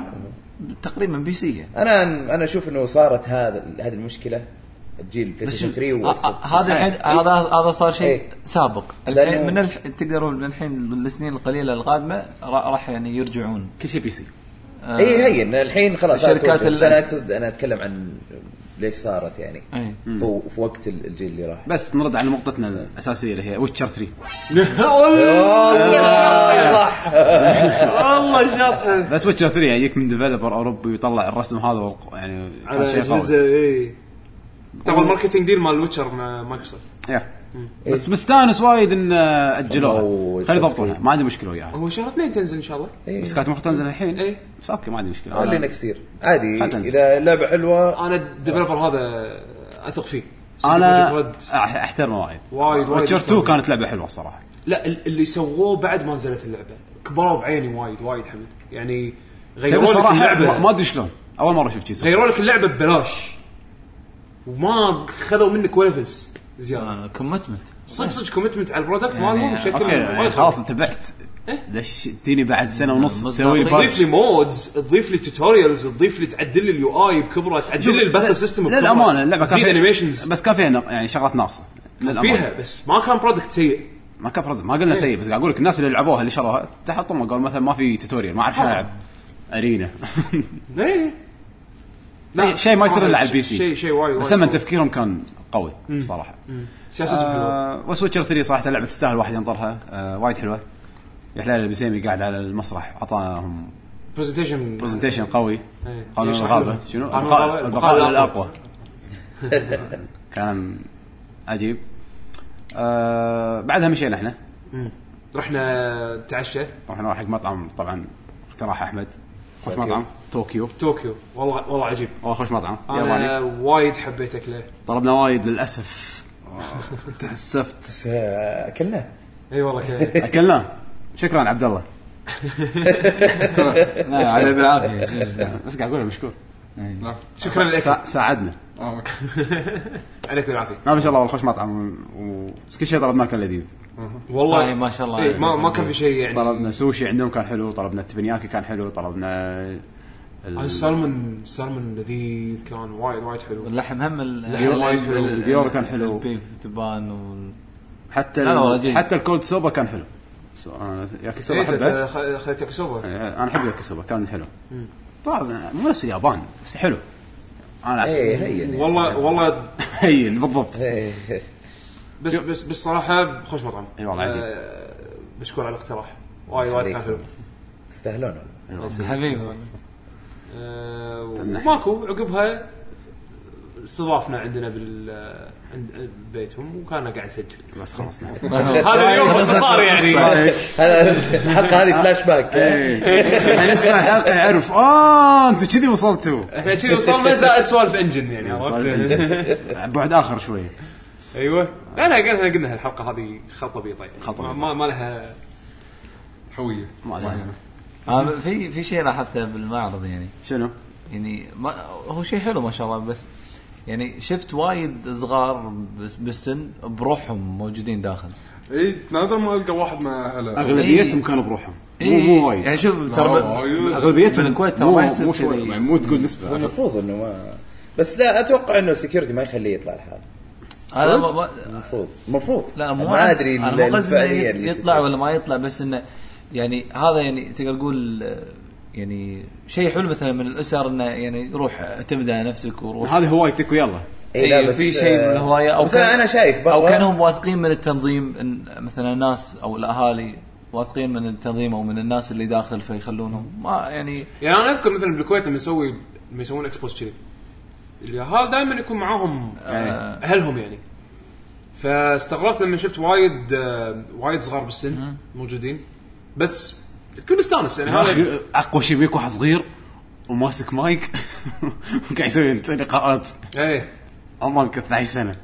E: تقريبا بي سي يعني
C: انا انا اشوف انه صارت هذا هذه المشكله بجيل بلاي ستيشن 3 و
E: آه، آه، هذا الحين هذا هذا صار شيء
C: إيه.
E: سابق الحين
C: لأنه-
E: من الح... تقدروا من الحين السنين القليله القادمه را- راح يعني يرجعون
B: كل شيء بي سي
E: آه،
C: اي هي إيه، الحين خلاص
E: الشركات
C: أنا أتوقع. بس
E: ال-
C: انا اقصد انا اتكلم عن ليش صارت يعني
E: إيه.
C: في في وقت ال- الجيل اللي راح
B: بس نرد على نقطتنا الاساسيه اللي هي ويتشر 3
C: والله صح
D: والله شاطحه
B: بس ويتشر 3 يجيك من ديفلوبر اوروبي ويطلع الرسم هذا والق- يعني كان
D: على
B: شيء قوي.
D: اجهزه اي ترى الماركتنج ديل مال ويتشر مع مايكروسوفت
B: إيه. بس مستانس وايد ان اجلوها
C: أوه،
B: خلي يضبطونها ما عندي مشكله وياها
D: هو شهر اثنين تنزل ان شاء الله
B: بس كانت المفروض تنزل الحين
D: إيه.
B: بس اوكي ما عندي مشكله
C: خلي
E: آه.
B: انا,
C: نكسير عادي
B: حتنزل.
C: اذا لعبه حلوه
D: انا الديفلبر هذا اثق فيه
B: أنا
D: رد.
B: أح- احترمه وايد
D: وايد- وايد
B: ويتشر 2
D: أحترمه.
B: كانت لعبه حلوه الصراحه
E: إيه،
D: لا ال- اللي سووه بعد ما نزلت اللعبه كبروا بعيني وايد وايد حمد يعني
B: تبي
D: غيروا لك
B: الصراحه ما- ما
D: اللعبه
B: ادري شلون اول مره اشوف شيء
D: غيروا لك اللعبه ببلاش وما خذوا منك ولا فلس زياده
E: كومتمنت *laughs*
D: صدق صدق كومتمنت على البرودكت
E: يعني-
D: مالهم بشكل
B: اوكي آه. يعني
D: وايد
B: خلاص انتبهت ليش تجيني بعد سنه ونص تسوي لي
E: مصداقية.
D: تضيف إيه؟ لي
B: باتش
D: مودز تضيف لي توتوريالز تضيف لي تعدل لي اليو اي بكبره تعدل لي الباتل سيستم بكبره
B: للامانه اللعبه كان
D: تزيد
B: فيها
D: انيميشنز
B: بس كان فيها نق- يعني شغلات ناقصه للامانه
D: فيها بس ما كان برودكت سيء
B: ما كان برزم ما
D: إيه.
B: قلنا سيء بس قاعد اقول لك الناس اللي لعبوها اللي شروها تحطموا قالوا مثلا ما في توتوريال ما اعرف
D: آه.
B: شلون العب ارينا
D: إيه.
B: شيء- *laughs* شيء ما يصير الا على البي سي
D: شيء شيء وايد
B: بس
D: وايد
B: لما
D: قوي.
B: تفكيرهم كان قوي صراحه
D: سياستهم حلوه
B: آه، وسويتشر 3 صراحه لعبه تستاهل واحد ينطرها آه، وايد حلوه يا حلال البسيمي قاعد على المسرح اعطاهم
D: برزنتيشن
B: برزنتيشن قوي
D: إيه.
B: قانون
D: يشرح
B: الغابه
D: لهم.
B: شنو
D: قانون
B: البقاء
D: الغابة-
B: البقاء
D: البقاء
B: للاقوى كان عجيب آه، بعدها مشينا احنا
D: رحنا نتعشى
B: رحنا حق مطعم طبعا اقتراح احمد خوش مطعم طوكيو
D: طوكيو والله والله عجيب
B: والله خوش مطعم
D: انا
B: ياباني
D: وايد حبيت اكله
B: طلبنا وايد للاسف تحسفت
C: بس آه، اكلناه
D: اي والله
B: *laughs*
D: كذا
B: اكلناه شكرا عبد الله
E: نعم، على
B: *laughs*
E: بالعافيه
B: بس قاعد اقول مشكور
F: لا.
D: شكرا لك
B: سا- ساعدنا
F: آه، أوكي.
D: عليك بالعافيه
B: ما شاء الله والله خوش مطعم و- وكل شيء طلبناه كان لذيذ
D: والله
E: صحيح، ما شاء الله.
D: إيه، ما ما كان في شيء يعني
B: طلبنا سوشي عندهم كان حلو طلبنا التبنياكي كان حلو طلبنا ال-
D: السلمون السلمون آه، لذيذ كان وايد وايد حلو
E: واللحم هم ال-
D: الديور وايد
E: ال-
D: حلو،
E: ال-
B: الديور كان حلو.
E: البيف تبان وال-
B: حتى
E: لا، لا، والله
B: ال-
E: جيد.
B: حتى الكولد سوبا كان حلو سو- أنا ياكيسوبا
D: إيه،
B: احبه
D: أنت خ- خذيت ياكوسوبا
B: يعني انا احب ياكوسوبا كان حلو طبعا مو نفس اليابان بس حلو انا
C: اي
B: أعرف.
C: هي
B: يعني.
D: والله والله
B: هين بالضبط
C: إيه.
D: بس بس بالصراحه خوش مطعم
B: إي إيه، والله عجيب.
E: إيه.
D: آه، مشكور على الاقتراح وايد وايد كان حلو
C: تستاهلون والله.
E: حبيبي
D: آه، وماكو عقبها استضافنا عندنا بال عند بيتهم وكان قاعد يسجل
B: بس نعم.
E: *laughs*
B: خلصنا
D: هذا اليوم باختصار يعني
C: هذا- الحلقه هذه إيه؟ فلاش باك
B: انا يعني اسمع حلقه يعرف اه انتوا كذي وصلتوا
D: احنا كذي وصلنا زائد سوالف انجن يعني عرفت
B: *laughs* بعد اخر شوي
D: ايوه لا لا قلنا قلنا الحلقه هذه خلطه بيطه يعني
B: خلطة
D: ما-
B: بيطة.
D: ما, ما لها
F: حويه
B: ما علينا.
E: آه، في في شيء لاحظته بالمعرض يعني
B: شنو؟
E: يعني ما هو شيء حلو ما شاء الله بس يعني شفت وايد صغار بس بالسن بروحهم موجودين داخل
F: اي إيه، نادر ما القى واحد مع اهله
B: اغلبيتهم كانوا بروحهم مو
E: إيه،
B: مو
E: يعني
B: وايد
E: شوف
F: لا،
E: ترى
F: وايد.
B: اغلبيتهم
E: بالكويت ترى
B: مو
E: ما يصير
B: مو شوي
E: كذي.
B: يعني مو تقول نسبه
C: المفروض انه ما بس لا اتوقع انه السكيورتي ما يخليه يطلع لحاله
E: انا ما- ما-
C: المفروض المفروض
E: لا مو
C: ما ادري
E: انا مو قصدي
C: الفعلية
E: إنه
C: اللي
E: يطلع
C: شو
E: ولا ما يطلع بس انه يعني هذا يعني تقدر تقول آه، يعني شيء حلو مثلا من الاسر انه يعني روح اعتمد على نفسك وروح
B: هذه هوايتك ويلا
C: إيه، لا
E: إيه،
C: بس،
E: في شيء من
C: آه،
E: الهوايه او
C: بس أنا شايف برا.
E: او كانوا واثقين من التنظيم إن مثلا الناس او الاهالي واثقين من التنظيم او من الناس اللي داخل فيخلونهم ما يعني
D: يعني انا اذكر مثلا بالكويت لما يسوي لما يسوون اكسبوز كذي اليهال دائما يكون معاهم آه، اهلهم يعني فاستغربت لما شفت وايد آه، وايد صغار بالسن موجودين بس الكل مستانس يعني هذا
B: *laughs* اقوى شيء بيك واحد صغير وماسك مايك *laughs* وقاعد يسوي لقاءات
D: ايه
B: عمره يمكن 12 سنه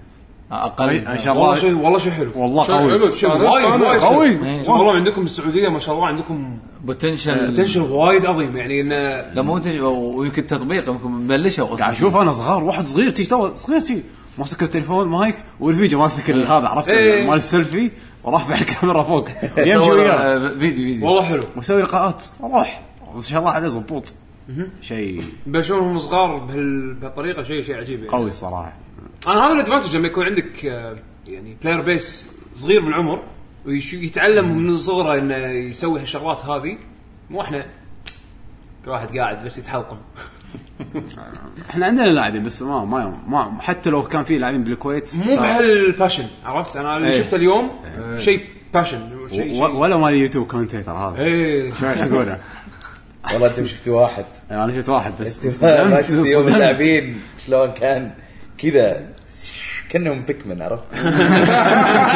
E: اقل
B: ان شاء
D: والله
B: الله
D: شيء والله شيء حلو
B: والله
F: شيء حلو
B: قوي
D: شوف، وايد- وايد
F: استانس
D: حلو.
B: قوي
E: إيه.
D: والله عندكم بالسعوديه ما شاء الله عندكم
B: أه،
E: بوتنشل
D: تنشر وايد عظيم يعني انه
E: لا مو potential، ويمكن تطبيق يمكن بلشوا
B: قاعد
E: اصلا
B: اشوف انا صغار واحد صغير تي تو صغير تي ماسك التليفون مايك ورفيجه ماسك ال- هذا عرفت
D: إيه.
B: ال- مال السيلفي ورافع *laughs* الكاميرا
D: *laughs*
B: فوق يمشي
E: صور،
B: وياه
E: آه، فيديو فيديو
D: والله حلو
B: ويسوي لقاءات روح ان شاء الله عليه زبوط شيء
D: بلشون هم صغار بهال- بهالطريقه شيء شيء عجيب يعني
B: قوي الصراحه
D: انا هذا الادفانتج لما يكون عندك آه، يعني بلاير بيس صغير بالعمر ويتعلم من صغره انه يسوي هالشغلات هذه مو احنا كل واحد قاعد بس يتحلقم
B: احنا عندنا لاعبين بس ما ما ما حتى لو كان في لاعبين بالكويت
D: مو بهالباشن عرفت انا اللي
B: إيه.
D: شفته اليوم شيء باشن شيء
B: و-
D: شيء
B: ولا مال اليوتيوب كومنتيتر هذا
D: ايه
B: شو يلحقونه
C: والله انتم شفتوا واحد
B: انا شفت واحد
C: *laughs*
B: بس
C: انت ما- ما
B: انصدمت-
C: شفت يوم
B: انصدمت. *laughs*
C: اللاعبين شلون كان كذا كانهم بيكمن عرفت؟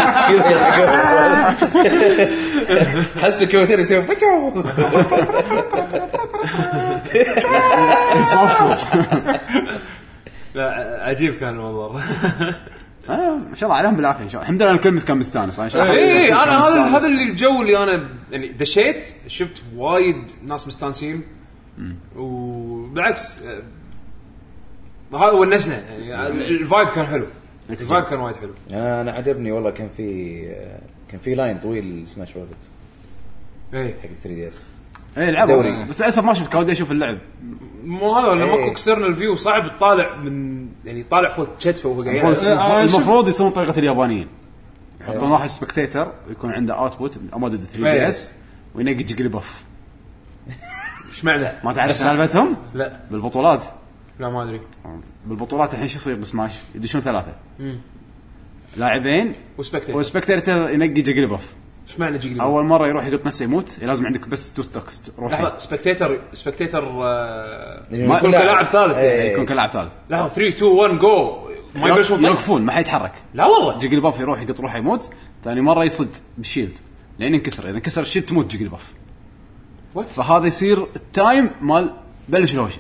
C: *laughs* كذا يلعبون. *laughs* حس الكمبيوتر يسوي بيكو
B: انصفوا
D: لا ع- عجيب كان والله *laughs*
B: آه، ما شاء الله عليهم بالعافيه ان شاء الله الحمد لله الكل كان مستانس انا إن شاء الله
D: اي
B: الكل كان
D: انا إيه، هذا
B: مستانس.
D: هذا اللي الجو اللي انا يعني دشيت شفت وايد ناس مستانسين وبالعكس آه، هذا ونسنا يعني ال- الفايب كان حلو الفايب كان وايد حلو
C: انا عجبني والله كان في كان في لاين طويل سماش بروثرز
B: إيه.
D: اي
C: حق 3 دي اس
B: اي إيه، لعبوا
C: دوري.
B: بس للاسف ما شفت كان ودي اشوف اللعب
D: مو هذا لما
C: إيه.
D: ماكو اكسترنال فيو صعب تطالع من يعني طالع فوق كتفه وهو قاعد يلعب.
B: المفروض-
F: أنا شفت-
B: المفروض يسوون طريقه اليابانيين يحطون واحد سبكتيتر ويكون عنده اوتبوت امادد 3 دي
D: إيه.
B: اس وينقي جيجليبف
D: ايش معنى؟
B: ما تعرف سالفتهم
D: لا
B: بالبطولات
D: لا ما ادري
B: بالبطولات الحين شو يصير بسماش يدشون ثلاثه لاعبين
D: وسبكتيتر
B: والسبكتيتر ينقي جيجليبف
D: ايش معنى جيجلي
B: اول مره يروح يقط نفسه يموت لازم عندك بس تو ستوكس روح
D: لحظه سبكتيتر سبكتيتر آه،
B: إيه.
C: ما-
D: يكون كلاعب ثالث يعني.
C: إيه،
B: يكون كلاعب ثالث
D: لحظه 3 2 1 جو ما يبلشون فايت.
B: يوقفون ما حيتحرك
D: لا والله
B: جيجل باف يروح يقط روحه يموت ثاني مره يصد بالشيلد لين ينكسر اذا انكسر الشيلد تموت جيجل باف
D: What؟
B: فهذا يصير التايم مال بلش الهوشه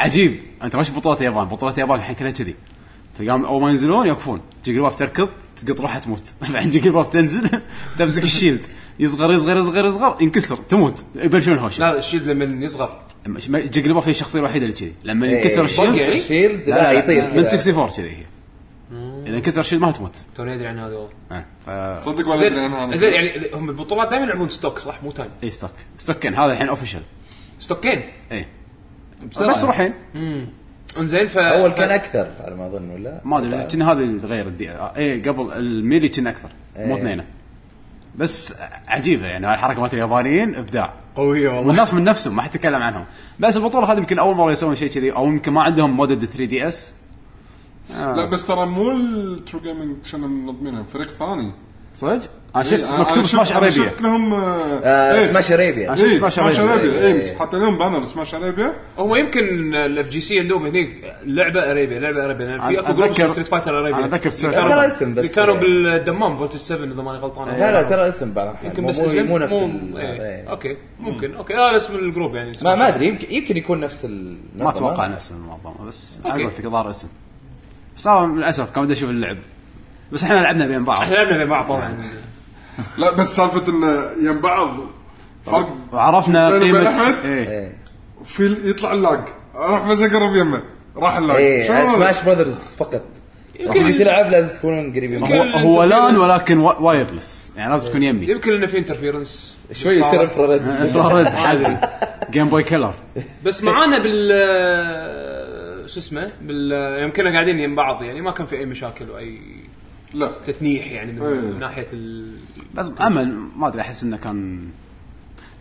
B: عجيب انت ما شفت بطولات اليابان بطولات اليابان الحين كلها كذي تلقاهم اول ما ينزلون يوقفون جيجل باف تركض تقط روحها تموت *laughs* بعدين جيجل باف تنزل *laughs* تمسك الشيلد يصغر يصغر يصغر يصغر ينكسر تموت يبلشون الهوشه
D: لا لا، الشيلد لما يصغر
B: جيجل باف هي الشخصيه الوحيده اللي كذي
C: إيه.
B: لما ينكسر الشيلد
D: يعني؟
C: شيلد لا يطير
B: من
C: كذا.
B: 64 كذي هي اذا انكسر الشيلد ما تموت
D: توني ادري عن هذا والله
B: آه، ف
F: صدق ولا ادري انا
D: زين زين
F: هذا
D: يعني هم البطولات دائما يلعبون ستوك صح مو تايم
B: اي ستوك ستوك كان هذا الحين اوفيشال
D: ستوكين
B: اي بس روحين
D: انزين ف
C: اول كان اكثر على ما اظن ولا
B: ما ادري كنا هذه غير الدي اي قبل الميلي كنا اكثر مو
C: إيه.
B: اثنين بس عجيبه يعني الحركه مالت اليابانيين ابداع
D: قويه والله
B: والناس من نفسهم ما حد تكلم عنهم بس البطوله هذه يمكن اول مره يسوون شيء كذي او يمكن ما عندهم مودد 3 دي اس
F: لا بس ترى مو الترو جيمنج كنا منظمينها فريق ثاني
B: صدق؟ انا
F: إيه،
B: شفت
F: أنا-
B: مكتوب
F: أنا
B: سماش
F: شفت-
B: عربيه
F: أنا شفت لهم
C: آه،
F: إيه.
C: سماش اريبيا
B: عشان
F: إيه،
B: سماش
F: سماش
B: أرابيا.
F: ارابيا
C: إيه.
F: اي حاطين لهم بانر سماش ارابيا
D: هم يمكن الاف جي سي عندهم هنيك لعبه اريبيا لعبه اريبيا لأن يعني في اكو جروب
B: أتذكر-
D: ستريت فايتر اريبيا
B: أنا أتذكر
D: اللي
B: Street
D: كانوا-
B: Fighter.
C: ترى اسم بس
D: اللي كانوا
C: إيه.
D: بالدمام فولتج 7 اذا ماني غلطان
C: لا لا ترى اسم بعض
D: يمكن بس
C: مو-
D: اسم
C: مو نفس ال-
D: إيه.
C: إيه.
D: اوكي ممكن اوكي هذا اسم الجروب يعني
C: ما ما ادري يمكن يمكن يكون نفس ال
B: ما اتوقع نفس المنظمه بس
D: أوكي.
B: على قولتك ظهر اسم بس أنا للاسف كان بدي اشوف اللعب بس احنا لعبنا بين بعض
D: احنا لعبنا مع بعض طبعا
F: لا بس سالفه انه يم بعض فرق
B: وعرفنا
F: بيني وبين
B: قيمه
F: أحمد؟
B: ايه
C: ايه
F: في ال- يطلع اللاج اروح بس اقرب يمه راح اللاج شنو
C: ايه
F: هذا؟
C: سماش براذرز فقط
D: طيب، يمكن-
C: يمكن تلعب لازم تكونون قريبين من
B: هو,
D: يمكن-
C: بعض
B: هو لان
D: الانترفيرنس.
B: ولكن وا- وايرلس يعني لازم تكون يمي *laughs*
D: يمكن انه في انترفيرنس
C: شوي
D: *laughs*
C: يصير انفراريد
B: انفراريد حقي جيم بوي كلر
D: بس معانا بال شو اسمه بال يوم كنا قاعدين يم بعض يعني ما كان في اي مشاكل واي
F: لا
D: تتنيح يعني من,
F: إيه.
D: من ناحيه ال...
B: بس امل ما ادري احس انه كان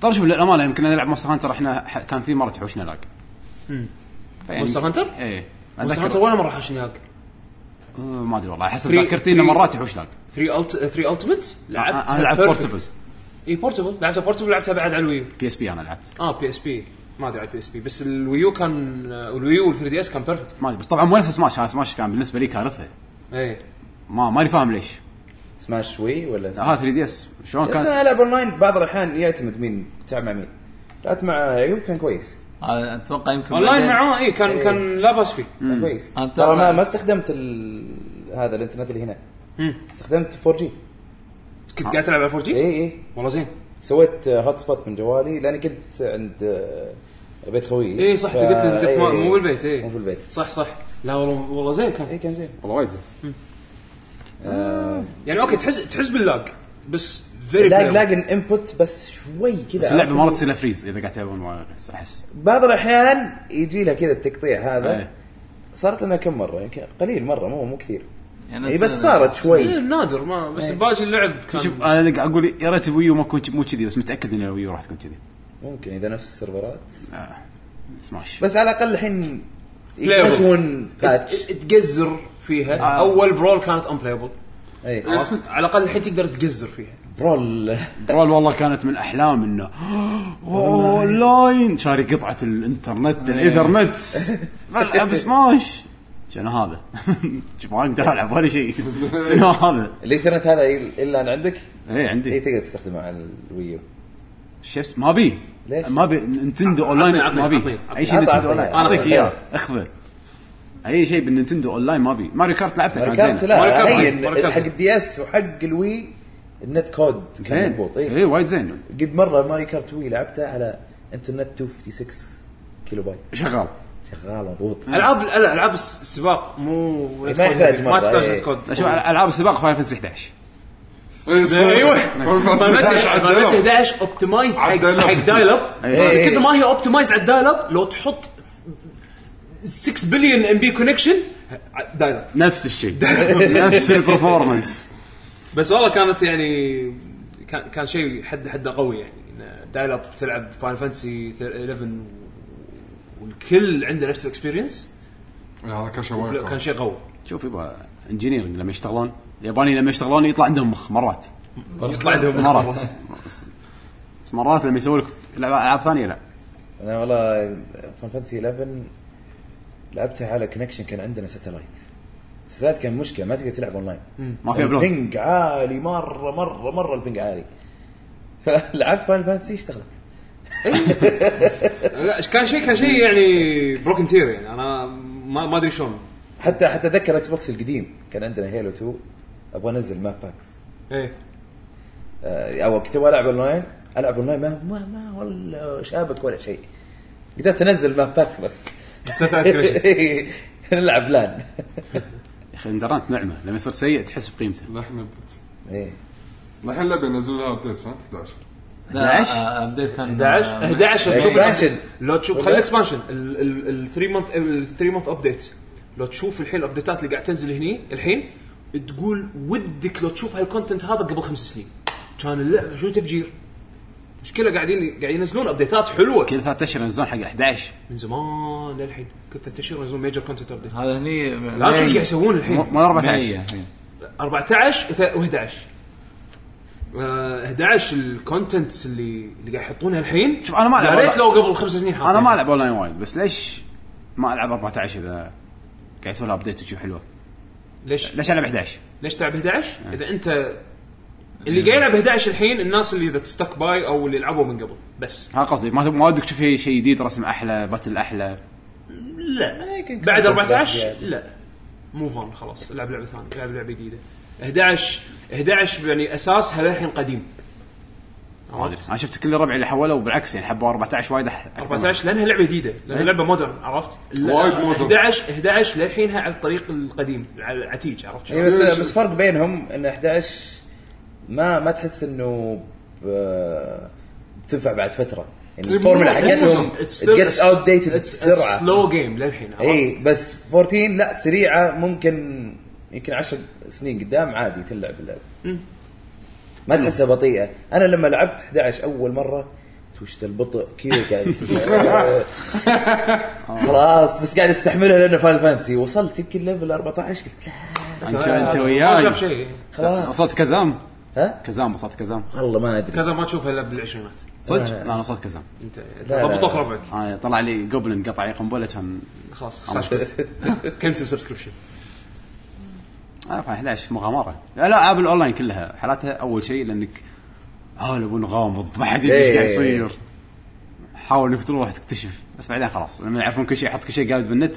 B: طبعا شوف للامانه يمكن نلعب مونستر هانتر احنا ح- كان في مره تحوشنا لاج
C: يعني
D: Monster Hunter؟
B: ايه
D: بس
B: اتذكر
D: حتى ولا مره حاشني هاك
B: آه، ما ادري والله احس
D: Free-
B: ذاكرتي انه
D: free-
B: مرات يحوش لاج
D: 3 الت 3 التمت
C: آه،
D: لعبت إيه،
B: انا لعبت بورتبل
D: اي بورتبل لعبتها بورتبل لعبتها بعد على الويو
B: بي اس بي انا لعبت
D: اه بي اس بي ما ادري على البي اس بي بس الويو كان الويو وال 3 دي اس كان بيرفكت
B: ما ادري بس طبعا مو نفس سماش أنا سماش كان بالنسبه لي كارثه
D: اي
B: ما ماني فاهم ليش
C: سماش وي ولا
B: لا، هذا 3 دي اس شلون
C: بس
B: كان
C: انا العب اونلاين بعض الاحيان يعتمد مين تلعب مع مين لعبت مع ايوب كان كويس
E: أنا اتوقع يمكن
D: اونلاين
E: بعدين-
D: معاه اي كان
C: إيه.
D: كان لا باس فيه
C: كان كويس
E: أنا
C: ترى ما
E: ترى-
C: ما استخدمت ال... هذا الانترنت اللي هنا
D: مم. إيه؟
C: استخدمت 4 جي آه.
D: كنت قاعد تلعب على 4 جي
C: اي اي
D: والله زين
C: إيه. سويت هوت سبوت من جوالي لاني كنت عند آه، بيت خويي
D: اي صح
C: ف-
D: انت قلت لي قلت
C: إيه،
D: مو-
C: إيه.
D: مو بالبيت اي
C: مو بالبيت
D: صح صح لا والله والله زين كان
C: اي إيه، كان زين
B: والله وايد زين
D: يعني اوكي تحس تحس باللاج بس فيري
C: لاج لاج انبوت بس شوي كذا
B: بس اللعبه
C: عرفت
B: مرات تصير لها فريز اذا قاعد تلعبون مع احس
C: بعض الاحيان يجي لها كذا التقطيع هذا
B: إيه.
C: صارت لنا كم مره يمكن قليل مره مو مو كثير
E: يعني
C: اي بس صارت شوي
D: إيه،
C: إيه.
D: نادر ما بس باقي اللعب كان
B: شوف انا قاعد اقول يا ريت الويو ما كنت مو كذي بس متاكد ان الويو راح تكون كذي
C: ممكن اذا نفس السيرفرات
B: آه، سماش
C: بس على الاقل الحين
D: Playable.
C: يكتشفون باتش *laughs*
D: ت- تقزر فيها
B: آه.
D: اول برول كانت امبلايبل
C: اي
D: عرفت على الاقل الحين تقدر تقزر فيها
C: إيه. برول
B: برول والله كانت من احلام *gasps* انه أوه، اونلاين شاري قطعه الانترنت الايثرنت بلعب سماش شنو هذا؟ *laughs* شوف ما اقدر العب ولا شيء *laughs* شنو هذا؟
C: الايثرنت هذا ي- الا أن عندك
B: اي
C: اي
B: عندي
C: تقدر تستخدمه على الويو
B: شيفس ما بي
C: ليش؟
B: ما بي نينتندو اونلاين
D: عطني-
B: ما بي
D: عطني- عطني.
B: اي شيء
C: عطني-
B: نينتندو اونلاين
C: عطني.
B: اعطيك
C: عطني.
B: اياه اخذه اي شيء بالنينتندو اونلاين ما بي ماريو كارت لعبته كان
C: ماركات
B: زين
D: ماري
C: لا
D: كارت. ماري
C: هين
D: كارت.
C: حق الدي اس وحق الوي النت كود كان
B: زين
C: مضبوط أيوه.
B: اي
C: اي
B: وايد زين
C: قد مره ماري كارت وي لعبته على انترنت 256 كيلو بايت
B: شغال
C: شغال مضبوط
D: العاب لا، العاب الس- السباق مو
C: إيه، ما يحتاج
D: ما
C: مرة،
D: تحتاج
C: إيه.
D: نت كود
B: شوف العاب السباق فاينل فانتسي 11
F: إيه، *laughs*
D: ايوه
F: فاينل فانتسي
D: فاينل فانتسي
F: 11
D: 11 اوبتمايز حق
F: عدلهم.
D: حق دايل اب
B: إيه.
D: كثر ما هي اوبتمايز على الدايل اب لو تحط 6 بليون ام بي كونكشن دايل اب
B: نفس الشيء نفس البرفورمانس
D: بس والله كانت يعني كان كان شيء حد حده قوي يعني إن دايل اب تلعب فاينل فانتسي 11 والكل عنده نفس الاكسبيرينس
F: هذا كان
D: لا، كان
F: شوايكر
D: شيء قوي
B: شوف يبا انجينيرنج لما يشتغلون اليابانيين لما يشتغلون يطلع عندهم مخ مرات
D: يطلع عندهم
B: مرات بس بس مرات لما يسوي لك لعبة- العاب ثانيه لا
C: انا والله فان فانتسي 11 لعبتها على كونكشن كان عندنا ساتلايت الساتلايت كان مشكله ما تقدر تلعب اونلاين
B: ما في ابلود
C: البنج عالي مره مره مره البنج عالي *laughs* لعبت فاينل فانتسي اشتغلت
D: لا كان شيء كان شيء يعني بروكن تير يعني انا ما ما ادري شلون
C: حتى حتى اتذكر اكس بوكس القديم كان عندنا هيلو 2 ابغى انزل ماب باكس
D: ايه
C: آه، او كنت ابغى العب اونلاين العب اونلاين ما ما, ما ولا شابك ولا شيء قدرت انزل ماب باكس بس
D: بس لا تعرف كل شيء.
C: *laughs* نلعب لان
B: يا اخي الانترنت نعمه لما يصير سيء تحس بقيمته
F: لحن بدت
C: إيه.
F: لحن اللعبه ينزلوا لها ابديتس ها 11
E: 11
B: 11.
E: ابديت آه، كان
D: 11
B: آه،
D: 11 تشوف-
C: Expansion.
D: لو تشوف خلي الاكسبانشن ال 3 مانث ال 3 مانث ابديتس لو تشوف الحين الابديتات اللي قاعد تنزل هني الحين تقول ودك لو تشوف هالكونتنت هذا قبل خمس سنين كان اللعبه شو تفجير مشكله قاعدين قاعدين ينزلون ابديتات حلوه
B: كل ثلاث اشهر ينزلون حق 11
D: من زمان للحين كل ثلاث اشهر ينزلون ميجر كونتنت ابديت
E: هذا هني
D: لا تشوف ايش قاعد يسوون
B: مو
D: الحين
B: مو 14
D: 14 و11 11 الكونتنتس اللي اللي قاعد يحطونها الحين
B: شوف أنا ما
D: يا
B: ألعب
D: ريت
B: والله.
D: لو قبل خمس سنين
B: انا ما
D: حاطينها.
B: العب اونلاين وايد بس ليش ما العب 14 اذا قاعد يسوي لها ابديت وتشوف حلوه
D: ليش
B: ليش العب 11
D: ليش تلعب 11 اذا انت اللي قاعد يلعب 11 الحين الناس اللي اذا تستك باي او اللي لعبوا من قبل بس
B: هذا قصدي ما ما ودك تشوف شيء شيء جديد رسم احلى باتل احلى
D: لا بعد 14
C: يعني.
D: لا موف اون خلاص العب لعبه ثانيه العب لعبه جديده 11 11 يعني اساسها للحين قديم
B: ما ادري انا شفت كل ربعي اللي حولوا بالعكس يعني حبوا 14 وايد أح- أكثر من-
D: 14 لانها لعبه جديده لانها
B: إيه.
D: لعبه مودرن عرفت؟ لا،
F: وايد modern.
D: 11 11 للحينها على الطريق القديم على العتيج عرفت
C: إيه
D: شلون؟
C: بس بس فرق بينهم ان 11 ما ما تحس انه ب- بتنفع بعد فتره يعني الفورمولا حقتهم جيتس اوت ديتد بسرعه
D: سلو جيم للحين عرفت؟
C: اي إيه، بس 14 لا سريعه ممكن يمكن 10 سنين قدام عادي تلعب اللعبه ما تحسها بطيئه انا لما لعبت 11 اول مره وش ذا البطء كيف قاعد خلاص بس قاعد استحملها لانه فاينل فانسي وصلت يمكن ليفل 14 قلت لا
B: انت انت
D: ما شاف
B: وياي
D: شيء
C: خلاص
B: وصلت كزام
C: ها
B: كزام وصلت كزام
C: والله ما ادري
D: كذا ما تشوفها الا بالعشرينات
B: صدق؟ لا انا وصلت كزام
D: انت
C: لا.
D: ضبطوك ربعك
B: آه، طلع لي جوبلن قطع لي قنبله كان
D: خلاص *laughs* ساشفت كنسل سبسكريبشن *laughs*
B: آه، فا 11 مغامره لا العاب الاونلاين كلها حالاتها اول شيء لانك هالب ونغامض ما حد يدري ايش قاعد
C: إيه.
B: يصير حاول انك تروح تكتشف بس بعدين خلاص لما يعرفون كل شيء يحط كل شيء قاعد بالنت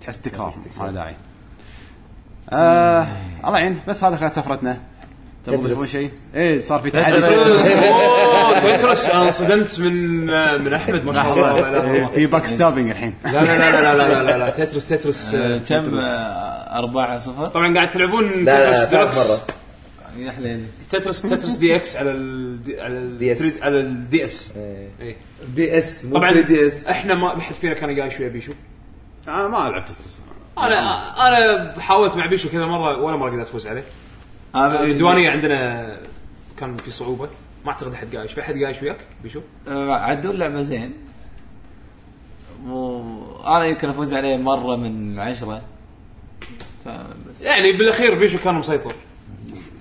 B: تحس تكرار ما له داعي آه الله يعين بس هذا كانت سفرتنا تبغى
C: تدرس.
B: تقول شيء؟ ايه صار في تحدي *laughs*
D: أوه، تترس انا انصدمت من من احمد ما شاء الله لا،
B: إيه،
D: لا
B: في باك ستابينج الحين
D: لا لا لا لا لا لا لا تترس تترس آه،
E: كم 4 0
D: طبعا قاعد تلعبون
C: لا لا
D: تترس ديلكس
C: ثلاث مره
E: يا حليلي
D: تترس تترس دي اكس على ال دي- إيه. على ال
C: DS.
D: 3 على الدي اس
E: دي اس مو
D: طبعا
E: 3 دي اس
D: احنا ما ما حد فينا كان قاعد شويه بيشو
B: انا ما العب تترس
D: انا انا حاولت مع بيشو كذا مره ولا مره قدرت افوز عليه الديوانيه عندنا كان في صعوبه ما اعتقد احد قايش في احد قايش وياك بيشو
E: عدوا اللعبه زين مو انا يمكن افوز عليه مره من عشره فبس
D: يعني بالاخير بيشو كان مسيطر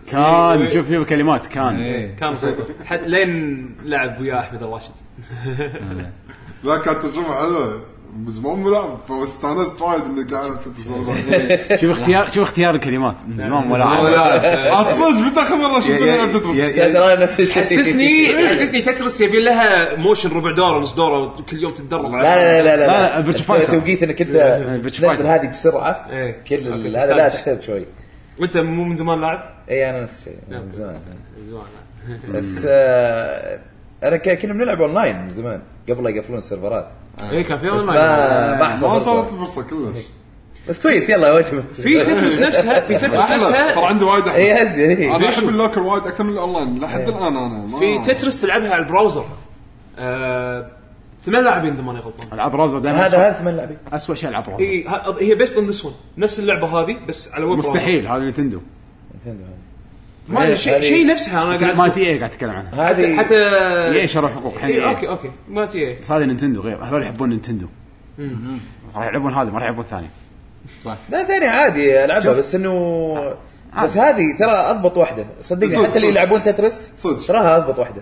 B: كان شوف شوف كلمات كان
D: كان مسيطر حد لين لعب ويا احمد الراشد
F: لا كانت تجربه حلوه من زمان ملعب فاستانست وايد اني قاعد العب تترس
C: *laughs*
F: مرة ثانية.
B: شوف اختيار شوف اختيار الكلمات من زمان ولا
D: أو
B: عارف.
D: لا
F: عاد صدق متى اخر مره
E: إيه،
F: شفت
B: يا-
F: العب تترس
B: يا- يا-
C: يا ترى نفس الشيء إيه.
D: حسسني حسسني إيه، تترس يبي لها موشن ربع دوره ونص دوره كل يوم تتدرب
F: والله.
C: لا لا لا لا,
B: لا، لا، بيتش فايتر.
C: توقيت انك انت
B: بيتش
C: تنزل
B: فايتر.
C: هذه بسرعه
D: إيه.
C: كل
D: أوكي،
C: ال- هذا لا
D: تحتاج.
C: تحتاج شوي
D: وانت مو من زمان لاعب؟
C: اي انا نفس الشيء من
D: أوكي.
C: زمان
D: من زمان لاعب.
C: بس آه، انا ك- كنا بنلعب اونلاين من زمان قبل لا يقفلون السيرفرات
D: اي إيه، كان في
C: بس
D: اونلاين
C: ما ما
F: ما
C: حصل
F: صارت
C: فرصة.
F: الفرصه كلش
C: بس كويس يلا وجه *laughs*
D: في تترس نفسها في تترس
F: احلى ترى
D: نفسها
F: عندي وايد
C: اي
F: احلى
C: هزي
D: *laughs*
C: إي.
F: انا احب اللوكر وايد اكثر من الاونلاين لحد الان انا ما-
D: في تترس تلعبها على البراوزر آه، ثمان لاعبين اذا ماني غلطان
C: آه.
B: العاب راوزر دائما
C: هذا
B: هذا
C: هذا ثمان لاعبين
B: اسوء شيء العاب راوزر
D: اي ه- هي بيست اون ذس ون نفس اللعبه هذه بس على ويب
B: مستحيل هذا نينتندو
C: نتندو هذا.
D: ما أدري، شيء
C: هذه-
D: شيء نفسها انا قاعد إيه،
B: مالت اي إيه قاعد اتكلم عنها
D: حتى
C: هذه
D: حتى
B: اي شروا حقوق
C: يعني؟
B: الحين
D: اي
B: EA.
D: اوكي اوكي ما تي إيه.
B: بس هذا نينتندو غير هذول يحبون نينتندو راح يلعبون هذا ما راح يلعبون الثاني
C: لا ثاني عادي العبها بس انه بس هذه ترى اضبط واحده صدقني
F: آه. صدق،
C: حتى اللي
F: صدق.
C: يلعبون تترس
F: صدق.
C: تراها اضبط واحده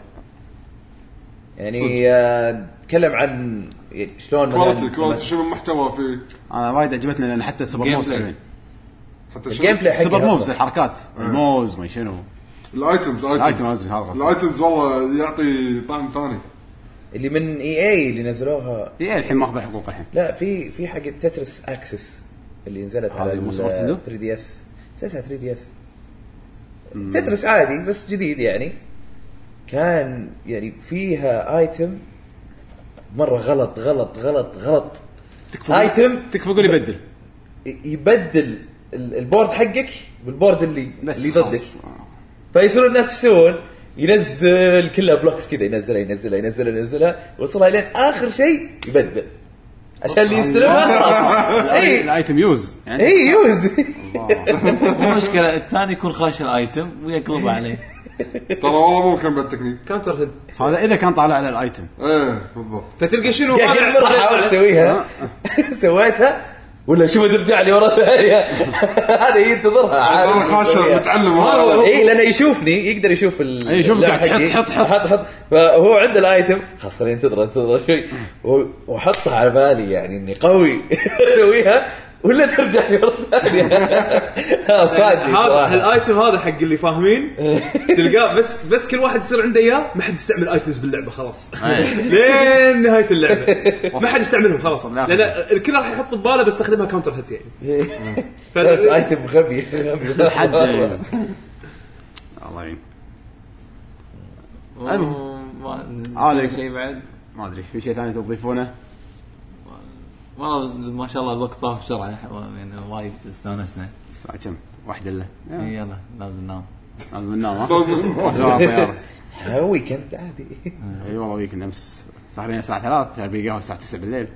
F: صدق.
C: يعني آه، نتكلم عن يعني شلون مثلاً-
F: كواليتي كواليتي شنو المحتوى في
B: انا وايد عجبتني لان حتى سوبر
E: Gameplay.
B: موفز حلوين.
F: حتى
C: الجيم
F: شنو
C: بلاي حقها
B: سوبر موفز
C: أفضل.
B: الحركات الموز ما شنو
F: الايتمز
B: الايتم
F: ايتمز
B: قصدي هذا قصدي.
F: الايتمز والله يعطي طعم ثاني
C: اللي من اي اي اللي نزلوها
B: اي إيه، الحين ماخذه حقوق الحين
C: لا في في حق تترس اكسس اللي نزلت على
B: هذه مو
C: ال-
B: صورة تندو؟
C: 3 دي اس سلسله 3 دي اس تترس عادي بس جديد يعني كان يعني فيها ايتم مره غلط غلط غلط غلط
B: تكفى
C: ايتم
B: تكفى قول يبدل
C: ي- يبدل ال- البورد حقك بالبورد اللي
B: بس
C: اللي ضدك
B: خلاص.
C: فيصيرون الناس ايش يسوون؟ ينزل كلها بلوكس كذا ينزلها ينزلها ينزلها ينزلها وصلها لين اخر شيء يبدل عشان اللي يستلمها خلاص.
B: الآي-
C: اي
B: الايتم يوز يعني
C: اي يوز
E: مو مشكله الثاني يكون خاش الايتم ويقلب عليه
F: ترى والله ممكن بالتكنيك
D: كانتر هيد
B: هذا اذا كان طالع على الايتم
F: ايه بالضبط
D: فتلقى شنو
C: يا أخي
D: طالع-
C: مرة حاولت
D: طالع-
C: اسويها *laughs* سويتها ولا شوف ترجع لي ورا *laughs* ثانيه هذا ينتظرها
F: انا خاشر متعلم هذا
C: اي لانه إيه، يشوفني يقدر يشوف ال
B: إي، إيه، يشوف
C: اللعب
B: قاعد تحط-
C: حقي.
B: حط- حط.
C: حط حط فهو عنده الايتم خلاص خليني انتظر انتظر شوي و- واحطها على بالي يعني اني قوي *laughs* اسويها ولا ترجع لي ورا ثانيه *laughs* آه، صادني
D: هذا
C: صراحه
D: الايتم هذا حق اللي
C: *laughs*
D: فاهمين تلقاه بس بس كل واحد يصير عنده اياه ما حد يستعمل ايتمز باللعبه
C: *laughs*
D: خلاص
C: إيه.
D: لين نهايه اللعبه ما حد يستعملهم خلاص
B: وصل
D: لان
B: لآخر.
D: الكل راح يحط بباله بستخدمها كاونتر هيت
C: *laughs*
D: يعني
C: إيه. لا، بس ايتم غبي غبي *laughs*
B: حد
C: والله.
B: الله يعين
E: ما
B: عليك.
E: نسوي شيء بعد
B: ما ادري في شيء ثاني تضيفونه
E: والله ما شاء الله الوقت طاف بسرعه يعني وايد استانسنا آه. إيه.
B: الساعه كم؟ واحدة الا
E: يلا لازم ننام
B: لازم ننام ها؟ *laughs*
F: لازم.
B: سواء طيارة
C: ويكند عادي
B: اي أيوة، والله ويكند امس صار لنا الساعه 3 جاب لي قهوه الساعه 9 بالليل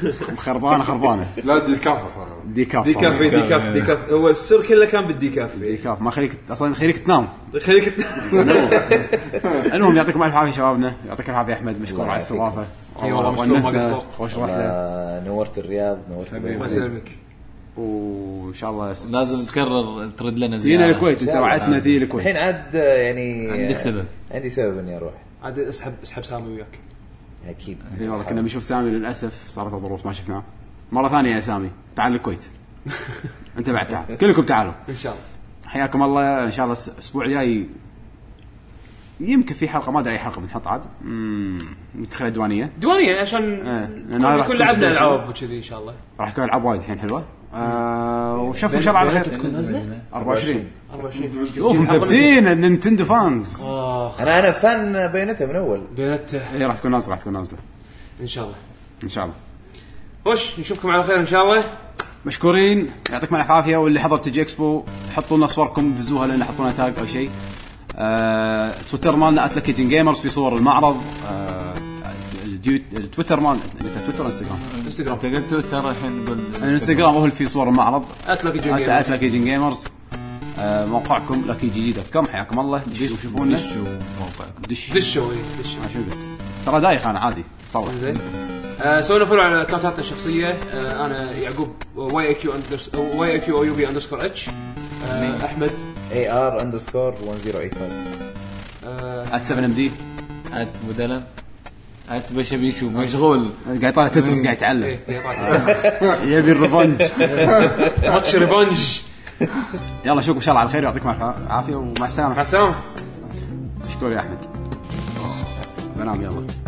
B: *laughs* خربانه خربانه
F: لا دي كافه
B: ديكاف صار.
D: ديكاف إي ديكاف ديكاف هو السر كله كان بالديكاف
C: إيه.
D: إي.
B: ديكاف ما خليك اصلا خليك تنام *laughs*
D: خليك
B: المهم يعطيكم الف عافيه شبابنا يعطيك العافيه احمد مشكور على الاستضافه
D: إي أيوة، والله مشكور، ما قصرت.
B: خوش رحله
C: آه، نورت الرياض نورت
D: *laughs* الله
C: بيروت
D: يسلمك
B: وان شاء الله س-
E: لازم تكرر ترد لنا
B: جينا
E: زياره
B: الكويت انت وعدتنا تي
C: الحين
B: الكويت
C: عاد آه، يعني
E: عندك سبب.
C: عندي سبب اني اروح
D: عاد اسحب اسحب سامي وياك
C: اكيد
B: اي إيه، والله كنا بنشوف سامي للاسف صارت الظروف ما شفناه مره ثانيه يا سامي تعال
D: *laughs*
B: الكويت انت بعد تعال كلكم تعالوا
D: ان شاء الله
B: حياكم الله ان شاء الله الس- الاسبوع الجاي يمكن في حلقه ما ادري اي حلقه بنحط عاد امم نخليها ديوانيه
D: ديوانيه عشان
B: إيه، لأن هاي
D: نكون-
B: راح
D: نكون
B: تكون
D: لعبنا
B: سبيشل.
D: العاب وكذي ان شاء الله
B: راح يكون العاب وايد الحين حلوه آه وشوفوا ان شاء الله على خير
E: نازله
B: 24
D: 24
B: اوف متبدين النينتندو فانز
D: اخ
C: انا انا فان بينته من اول
D: بياناته
B: هي إيه، راح تكون نازله راح تكون نازله
D: ان شاء الله
B: ان شاء الله
D: وش نشوفكم على خير ان شاء الله
B: مشكورين يعطيكم الف عافيه واللي حضر تجي اكسبو حطوا لنا صوركم دزوها لنا حطوا لنا تاج او شيء آه، تويتر مالنا @لكيجن جيمرز في صور المعرض آه، اليوت- التويتر مالنا متى تويتر انستغرام
D: انستغرام
E: انت قلت تويتر الحين نقول
B: الانستغرام هو اللي في صور المعرض
D: اتلك
B: ات
D: جيم
B: لكيجن جيمرز آه، موقعكم لكي جي جي دوت كوم حياكم الله دشوا وشوفونا
E: شو موقعكم
B: دش
D: دشوا إي، دشوا
B: ما شو قلت ترى دايخ انا عادي صور
D: زين آه، سوينا فولو على اكونتاتنا الشخصيه آه، انا يعقوب آه، واي اي كيو واي اي كيو او يو بي اندرسكور اتش آه، احمد
C: اي ار اندرسكور 1085
D: آه،
B: ات 7 ام دي
E: ات بدلا ات بشبيشو مشغول
B: قاعد يطالع تترس قاعد يتعلم
D: إيه، *laughs* يعطيك.
B: يبي
D: *laughs*
B: الريفنج
D: ماتش ريفانج
B: يلا اشوفكم ان شاء الله على خير ويعطيكم الف عافيه ومع السلامه
D: مع السلامه
B: مشكور يا احمد بنام يلا